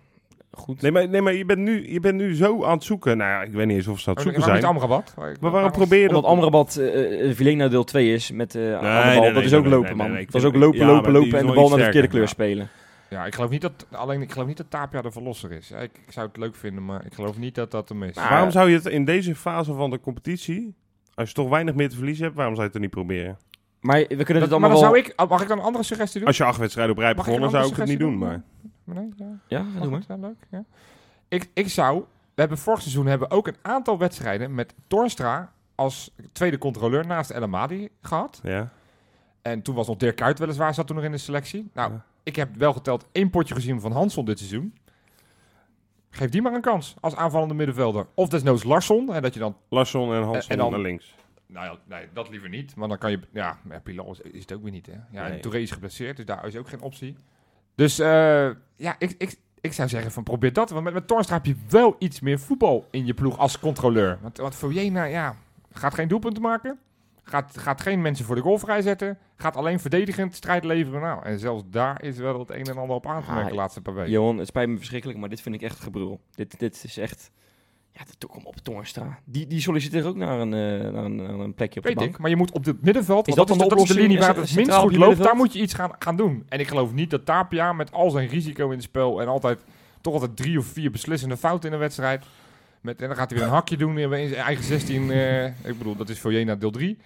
[SPEAKER 2] goed.
[SPEAKER 1] Nee, maar, nee, maar je, bent nu, je bent nu zo aan het zoeken. Nou ja, ik weet niet eens of ze aan het
[SPEAKER 3] Oh,
[SPEAKER 1] zoeken
[SPEAKER 3] waarom
[SPEAKER 1] zijn.
[SPEAKER 3] niet Amrabat? Waar-
[SPEAKER 1] Maar
[SPEAKER 3] waar-
[SPEAKER 1] waarom probeer je dat?
[SPEAKER 2] Omdat Amrabat eh, eh, Filena deel 2 is met eh aan de
[SPEAKER 1] nee,
[SPEAKER 2] bal.
[SPEAKER 1] nee,
[SPEAKER 2] dat is
[SPEAKER 1] nee,
[SPEAKER 2] ook
[SPEAKER 1] nee,
[SPEAKER 2] lopen,
[SPEAKER 1] nee,
[SPEAKER 2] man.
[SPEAKER 1] nee, ik
[SPEAKER 2] dat is ook
[SPEAKER 1] vind-
[SPEAKER 2] lopen,
[SPEAKER 1] ja, maar
[SPEAKER 2] lopen,
[SPEAKER 1] die
[SPEAKER 2] lopen
[SPEAKER 1] is
[SPEAKER 2] en de
[SPEAKER 1] nog
[SPEAKER 2] bal
[SPEAKER 1] iets
[SPEAKER 2] naar de verkeerde kleur
[SPEAKER 1] sterker,
[SPEAKER 2] spelen.
[SPEAKER 3] Ja, ik geloof niet dat alleen ik geloof niet dat Tapia de verlosser is. Ik, ik zou het leuk vinden, maar ik geloof niet dat dat hem is.
[SPEAKER 2] Nou,
[SPEAKER 1] waarom zou je het in deze fase van de competitie, als je toch weinig meer te verliezen hebt, waarom zou je het er niet proberen?
[SPEAKER 2] Maar eh, we kunnen
[SPEAKER 3] Dat-
[SPEAKER 2] het allemaal
[SPEAKER 3] maar dan zou
[SPEAKER 2] wel...
[SPEAKER 3] ik, mag ik dan een andere suggestie doen?
[SPEAKER 1] Als je acht wedstrijden op rij hebt
[SPEAKER 3] Mag ik
[SPEAKER 1] gewonnen,
[SPEAKER 3] een
[SPEAKER 1] zou ik
[SPEAKER 3] andere
[SPEAKER 1] het niet doen.
[SPEAKER 3] suggestie
[SPEAKER 1] Maar
[SPEAKER 3] Nee, ja,
[SPEAKER 2] Ja, ga
[SPEAKER 3] mag
[SPEAKER 2] doen maar.
[SPEAKER 3] het? Ja, leuk. Ja. Ik, ik zou, we hebben vorig seizoen hebben we ook een aantal wedstrijden met Torstra als tweede controleur naast El Amadi gehad.
[SPEAKER 1] ja.
[SPEAKER 3] En toen was nog Dirk Kuyt weliswaar, zat toen nog in de selectie. Nou,
[SPEAKER 1] Ja.
[SPEAKER 3] ik heb wel geteld één potje gezien van Hansson dit seizoen. Geef die maar een kans als aanvallende middenvelder. Of desnoods Larsson. En dat je dan
[SPEAKER 1] Larsson en Hansen
[SPEAKER 3] En dan-
[SPEAKER 1] naar links.
[SPEAKER 3] Nou ja, nee, dat liever niet. Want dan kan je... Ja, maar Pilar is, is het ook weer niet, hè? Ja,
[SPEAKER 2] Nee.
[SPEAKER 3] en Touré is geblesseerd, dus daar is ook geen optie. Dus eh, ja, ik, ik, Ik zou zeggen van probeer dat. Want met, met Toornstra heb je wel iets meer voetbal in je ploeg als controleur. Want, want Foyena, ja, gaat geen doelpunten maken. Gaat, gaat geen mensen voor de goal vrijzetten. Gaat alleen verdedigend strijd leveren. Nou, en zelfs daar is wel het een en ander op aan te merken de
[SPEAKER 2] Ah,
[SPEAKER 3] laatste paar weken.
[SPEAKER 2] Johan, het spijt me verschrikkelijk, maar dit vind ik echt gebrul. Dit, dit is echt... Ja, dat kom op, Toornstra. Die, die solliciteert ook naar een, eh, naar, een, naar een plekje op de
[SPEAKER 3] Weet
[SPEAKER 2] bank.
[SPEAKER 3] ik, maar je moet op dit middenveld,
[SPEAKER 2] Is
[SPEAKER 3] want
[SPEAKER 2] dat
[SPEAKER 3] dat, is,
[SPEAKER 2] dan
[SPEAKER 3] de,
[SPEAKER 2] de
[SPEAKER 3] dat is
[SPEAKER 2] oplossing?
[SPEAKER 3] de linie
[SPEAKER 2] Is
[SPEAKER 3] waar
[SPEAKER 2] dat
[SPEAKER 3] het
[SPEAKER 2] centraal
[SPEAKER 3] minst goed
[SPEAKER 2] op je
[SPEAKER 3] loopt, daar
[SPEAKER 2] middenveld?
[SPEAKER 3] moet je iets gaan, gaan doen. En ik geloof niet dat Tapia met al zijn risico in het spel en altijd toch altijd drie of vier beslissende fouten in een wedstrijd. Met, en dan gaat hij weer een hakje doen in zijn eigen 16. eh, ik bedoel, dat is voor Jena deel 3.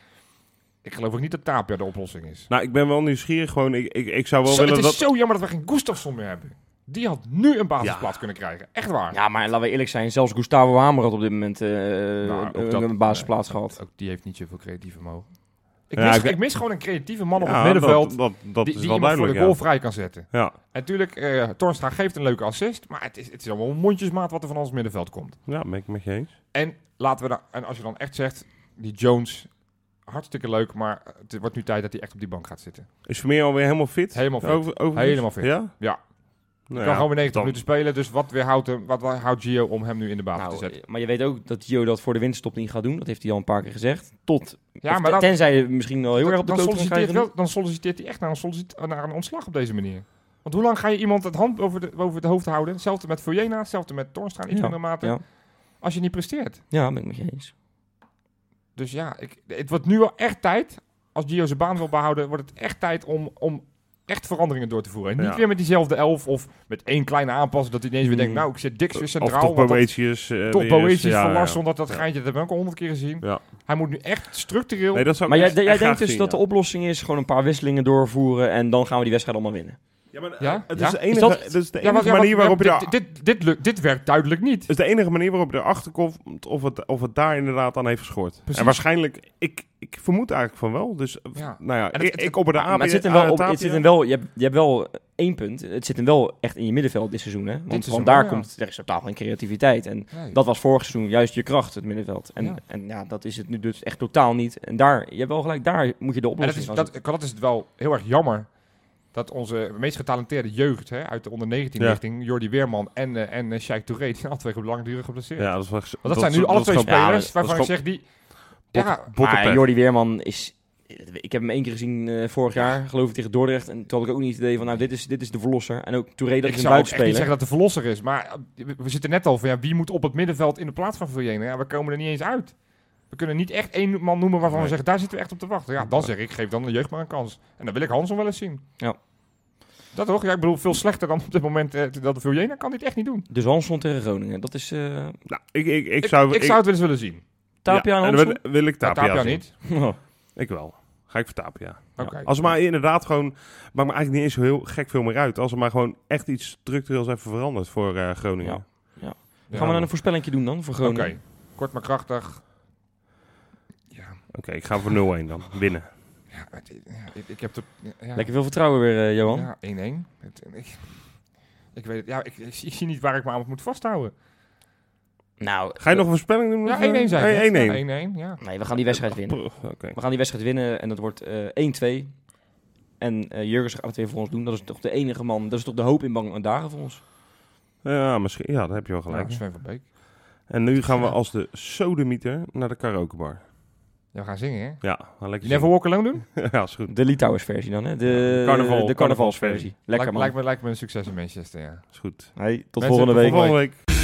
[SPEAKER 3] Ik geloof ook niet dat Tapia de oplossing is.
[SPEAKER 1] Nou, ik ben wel nieuwsgierig. Gewoon, ik, ik, ik zou wel
[SPEAKER 3] Zo, het
[SPEAKER 1] willen
[SPEAKER 3] is
[SPEAKER 1] dat...
[SPEAKER 3] zo jammer dat we geen Gustafsson meer hebben. Die had nu een basisplaats kunnen krijgen. Echt waar.
[SPEAKER 2] Ja, maar laten we eerlijk zijn. Zelfs Gustavo Hamer had op dit moment eh,
[SPEAKER 3] ook
[SPEAKER 2] een,
[SPEAKER 3] Nou, dat- eh,
[SPEAKER 2] een basisplaats gehad.
[SPEAKER 3] Ook die heeft niet zoveel creatief vermogen. Ik,
[SPEAKER 1] Ja,
[SPEAKER 3] mis,
[SPEAKER 1] ik-
[SPEAKER 3] ik mis gewoon een creatieve man op
[SPEAKER 1] Ja,
[SPEAKER 3] het middenveld.
[SPEAKER 1] Dat, dat, dat
[SPEAKER 3] die
[SPEAKER 1] is
[SPEAKER 3] die
[SPEAKER 1] wel
[SPEAKER 3] iemand voor
[SPEAKER 1] duidelijk,
[SPEAKER 3] de
[SPEAKER 1] ja.
[SPEAKER 3] goal vrij kan zetten.
[SPEAKER 1] Ja.
[SPEAKER 3] En natuurlijk, eh Tornstra geeft een leuke assist. Maar het is, het is allemaal mondjesmaat wat er van ons middenveld komt.
[SPEAKER 1] Ja, ben ik met je eens.
[SPEAKER 3] En, laten we dan, en als je dan echt zegt, die Jones, hartstikke leuk. Maar het wordt nu tijd dat hij echt op die bank gaat zitten.
[SPEAKER 1] Is Vermeer alweer helemaal fit?
[SPEAKER 3] Helemaal fit.
[SPEAKER 1] Over, overigens?
[SPEAKER 3] Helemaal fit.
[SPEAKER 1] Ja?
[SPEAKER 3] Ja.
[SPEAKER 1] Nou
[SPEAKER 3] kan
[SPEAKER 1] ja,
[SPEAKER 3] gewoon weer 90
[SPEAKER 1] dan-
[SPEAKER 3] minuten spelen. Dus wat, weer houdt, hem, wat houdt Gio om hem nu in de basis te
[SPEAKER 2] Nou,
[SPEAKER 3] zetten?
[SPEAKER 2] maar je weet ook dat Gio dat voor de winterstop niet gaat doen. Dat heeft hij al een paar keer gezegd. Tot, eh,
[SPEAKER 3] Ja,
[SPEAKER 2] of
[SPEAKER 3] maar
[SPEAKER 2] ten-
[SPEAKER 3] dat-
[SPEAKER 2] tenzij je misschien wel heel erg op de
[SPEAKER 3] dan,
[SPEAKER 2] kloot gaat
[SPEAKER 3] solliciteert
[SPEAKER 2] krijgen.
[SPEAKER 3] wel, dan solliciteert hij echt naar een, sollicit- naar een ontslag op deze manier. Want hoe lang ga je iemand het hand over, de, over het hoofd houden? Hetzelfde met Foyena, hetzelfde met Tornstra, iets
[SPEAKER 2] Ja,
[SPEAKER 3] minder mate.
[SPEAKER 2] ja.
[SPEAKER 3] Als je niet presteert.
[SPEAKER 2] Ja, ben ik met je eens.
[SPEAKER 3] Dus ja, ik, het wordt nu wel echt tijd. Als Gio zijn baan wil behouden, wordt het echt tijd om, om echt veranderingen door te voeren. En niet
[SPEAKER 1] Ja.
[SPEAKER 3] weer met diezelfde elf of met één kleine aanpassing. Dat hij ineens weer denkt,
[SPEAKER 2] Mm.
[SPEAKER 3] nou, ik zet Dix weer
[SPEAKER 1] Of
[SPEAKER 3] centraal.
[SPEAKER 1] toch
[SPEAKER 3] want dat-
[SPEAKER 1] Boetius. eh,
[SPEAKER 3] toch
[SPEAKER 1] weer
[SPEAKER 3] Boetius
[SPEAKER 1] eens. Ja,
[SPEAKER 3] van
[SPEAKER 1] ja.
[SPEAKER 3] Larson, dat, dat
[SPEAKER 1] Ja.
[SPEAKER 3] geintje, dat hebben we ook al honderd keer gezien.
[SPEAKER 1] Ja.
[SPEAKER 3] Hij moet nu echt structureel...
[SPEAKER 1] Nee, dat zou ik
[SPEAKER 2] Maar jij,
[SPEAKER 1] echt-
[SPEAKER 2] jij
[SPEAKER 1] echt
[SPEAKER 2] denkt
[SPEAKER 1] graag
[SPEAKER 2] dus
[SPEAKER 1] zien,
[SPEAKER 2] dat
[SPEAKER 1] ja.
[SPEAKER 2] de oplossing is gewoon een paar wisselingen doorvoeren en dan gaan we die wedstrijd allemaal winnen.
[SPEAKER 1] Ja, maar eh,
[SPEAKER 3] Ja?
[SPEAKER 1] het
[SPEAKER 3] Ja?
[SPEAKER 1] is de
[SPEAKER 2] Is
[SPEAKER 1] enige,
[SPEAKER 2] dat-
[SPEAKER 1] dat is de
[SPEAKER 3] Ja,
[SPEAKER 1] enige
[SPEAKER 3] want- ja,
[SPEAKER 1] manier
[SPEAKER 3] want-
[SPEAKER 1] waarop je
[SPEAKER 3] ja,
[SPEAKER 1] daar-
[SPEAKER 3] dit, dit, dit, lukt, dit werkt duidelijk niet.
[SPEAKER 1] is de enige manier waarop je erachter komt of het, of het daar inderdaad aan heeft geschort.
[SPEAKER 3] Precies.
[SPEAKER 1] En waarschijnlijk, ik, ik vermoed eigenlijk van wel. Dus eh,
[SPEAKER 3] Ja.
[SPEAKER 1] nou ja,
[SPEAKER 3] En het-
[SPEAKER 1] ik,
[SPEAKER 3] het-
[SPEAKER 1] ik opper de
[SPEAKER 2] maar
[SPEAKER 1] aap.
[SPEAKER 2] het zit
[SPEAKER 3] eh,
[SPEAKER 2] hem wel, op, het zit hem wel je, hebt, je hebt wel één punt. Het zit hem wel echt in je middenveld dit seizoen. Hè? Want,
[SPEAKER 3] seizoen
[SPEAKER 2] want daar
[SPEAKER 3] wel, ja.
[SPEAKER 2] komt, er is totaal geen creativiteit. En
[SPEAKER 3] Nee.
[SPEAKER 2] Dat was vorig seizoen juist je kracht, het middenveld. En
[SPEAKER 3] Ja.
[SPEAKER 2] ja, en, ja dat is het nu dus echt totaal niet. En daar, je hebt wel gelijk, daar moet je de
[SPEAKER 3] En dat
[SPEAKER 2] oplossing
[SPEAKER 3] is,
[SPEAKER 2] van
[SPEAKER 3] dat, dat is wel heel erg jammer. Dat onze meest getalenteerde jeugd hè, uit de onder 19
[SPEAKER 1] Ja.
[SPEAKER 3] richting, Jordi Weerman en, eh, en eh, Shaik Touré, die zijn alle twee langdurig geblesseerd.
[SPEAKER 1] Ja, dat, is wel, dat,
[SPEAKER 3] Want dat, zijn nu alle twee
[SPEAKER 2] gewoon- ja,
[SPEAKER 3] spelers
[SPEAKER 2] dat-
[SPEAKER 3] waarvan Ah, ik
[SPEAKER 1] dat is
[SPEAKER 3] zeg die.
[SPEAKER 1] gewoon
[SPEAKER 3] Ja,
[SPEAKER 1] bot-
[SPEAKER 2] Maar
[SPEAKER 1] bottenpet.
[SPEAKER 2] Jordi Weerman is... Ik heb hem één keer gezien eh, vorig jaar, geloof ik, tegen Dordrecht. En toen had ik ook niet het idee van, nou, dit is, dit is de verlosser. En ook Touré, dat
[SPEAKER 3] ik
[SPEAKER 2] is een
[SPEAKER 3] zou ook echt niet zeggen
[SPEAKER 2] buitenspeler.
[SPEAKER 3] dat de verlosser is. Maar eh, we zitten net al van ja, wie moet op het middenveld in de plaats van Verjenen? Ja, we komen er niet eens uit. We kunnen niet echt één man noemen waarvan we
[SPEAKER 1] Nee.
[SPEAKER 3] zeggen, daar zitten we echt op te wachten. Ja, dan zeg ik, geef dan de jeugd maar een kans. En dan wil ik Hanson wel eens zien.
[SPEAKER 2] Ja.
[SPEAKER 3] Dat toch? Ja, ik bedoel, veel slechter dan op dit moment eh, dat de Verjena kan dit echt niet doen.
[SPEAKER 2] Dus Hanson tegen Groningen, dat is... eh
[SPEAKER 1] Nou, ik, ik, ik
[SPEAKER 3] Ik
[SPEAKER 1] zou...
[SPEAKER 3] ik zou het wel eens willen zien.
[SPEAKER 2] Tapia
[SPEAKER 1] ja,
[SPEAKER 2] en Oh,
[SPEAKER 1] dan
[SPEAKER 2] Hanson?
[SPEAKER 1] wil, wil ik
[SPEAKER 3] Ja,
[SPEAKER 1] Tapia,
[SPEAKER 3] Tapia
[SPEAKER 1] zien.
[SPEAKER 3] niet.
[SPEAKER 1] Ik wel. Ga ik voor Tapia.
[SPEAKER 3] Oké.
[SPEAKER 1] Als er maar inderdaad gewoon... Maakt me eigenlijk niet eens zo heel gek veel meer uit. Als er maar gewoon echt iets structureels even verandert voor eh, Groningen.
[SPEAKER 2] Ja.
[SPEAKER 3] Ja.
[SPEAKER 2] Gaan we dan een voorspellingje doen dan, voor
[SPEAKER 3] Oké.
[SPEAKER 2] Groningen?
[SPEAKER 3] Kort maar krachtig. Ja,
[SPEAKER 1] Oké, ik ga voor 0-1 dan. Winnen.
[SPEAKER 3] ja, het- ja, ik, ik heb de. Ja,
[SPEAKER 2] Lekker veel vertrouwen weer, eh, Johan.
[SPEAKER 3] Ja, 1-1. Het- en Ik, ik weet het. Ja, ik, ik, zie- ik zie niet waar ik me aan moet vasthouden.
[SPEAKER 2] Nou,
[SPEAKER 1] Ga je nog een voorspelling doen?
[SPEAKER 3] Ja,
[SPEAKER 1] Of,
[SPEAKER 3] 1-1
[SPEAKER 1] eh,
[SPEAKER 3] zijn.
[SPEAKER 1] nee, 1-1.
[SPEAKER 3] 1-1, ja.
[SPEAKER 2] nee, we gaan die wedstrijd winnen.
[SPEAKER 1] Oké.
[SPEAKER 2] We gaan die wedstrijd winnen en dat wordt eh, 1-2. En eh Jurgens gaat het weer voor ons doen. Dat is toch de enige man. Dat is toch de hoop in bange dagen voor ons.
[SPEAKER 1] Ja, misschien. Ja, daar heb je wel
[SPEAKER 3] ja
[SPEAKER 1] gelijk.
[SPEAKER 3] Sven van Beek.
[SPEAKER 1] En nu gaan we als de sodemieter naar de karaokebar.
[SPEAKER 3] Ja, we gaan zingen, hè?
[SPEAKER 1] Ja, gaan lekker
[SPEAKER 3] You never walk alone doen?
[SPEAKER 1] zingen. ja, is goed.
[SPEAKER 2] De Litouwers versie dan, hè? De,
[SPEAKER 1] Carnaval-
[SPEAKER 2] de carnavalsversie. Lekker
[SPEAKER 3] lijkt,
[SPEAKER 2] man.
[SPEAKER 3] lijkt me, lijkt me een succes in Manchester, ja.
[SPEAKER 1] Is goed.
[SPEAKER 2] Hey, tot
[SPEAKER 3] Mensen,
[SPEAKER 2] volgende
[SPEAKER 3] tot
[SPEAKER 2] week.
[SPEAKER 1] Volgende week.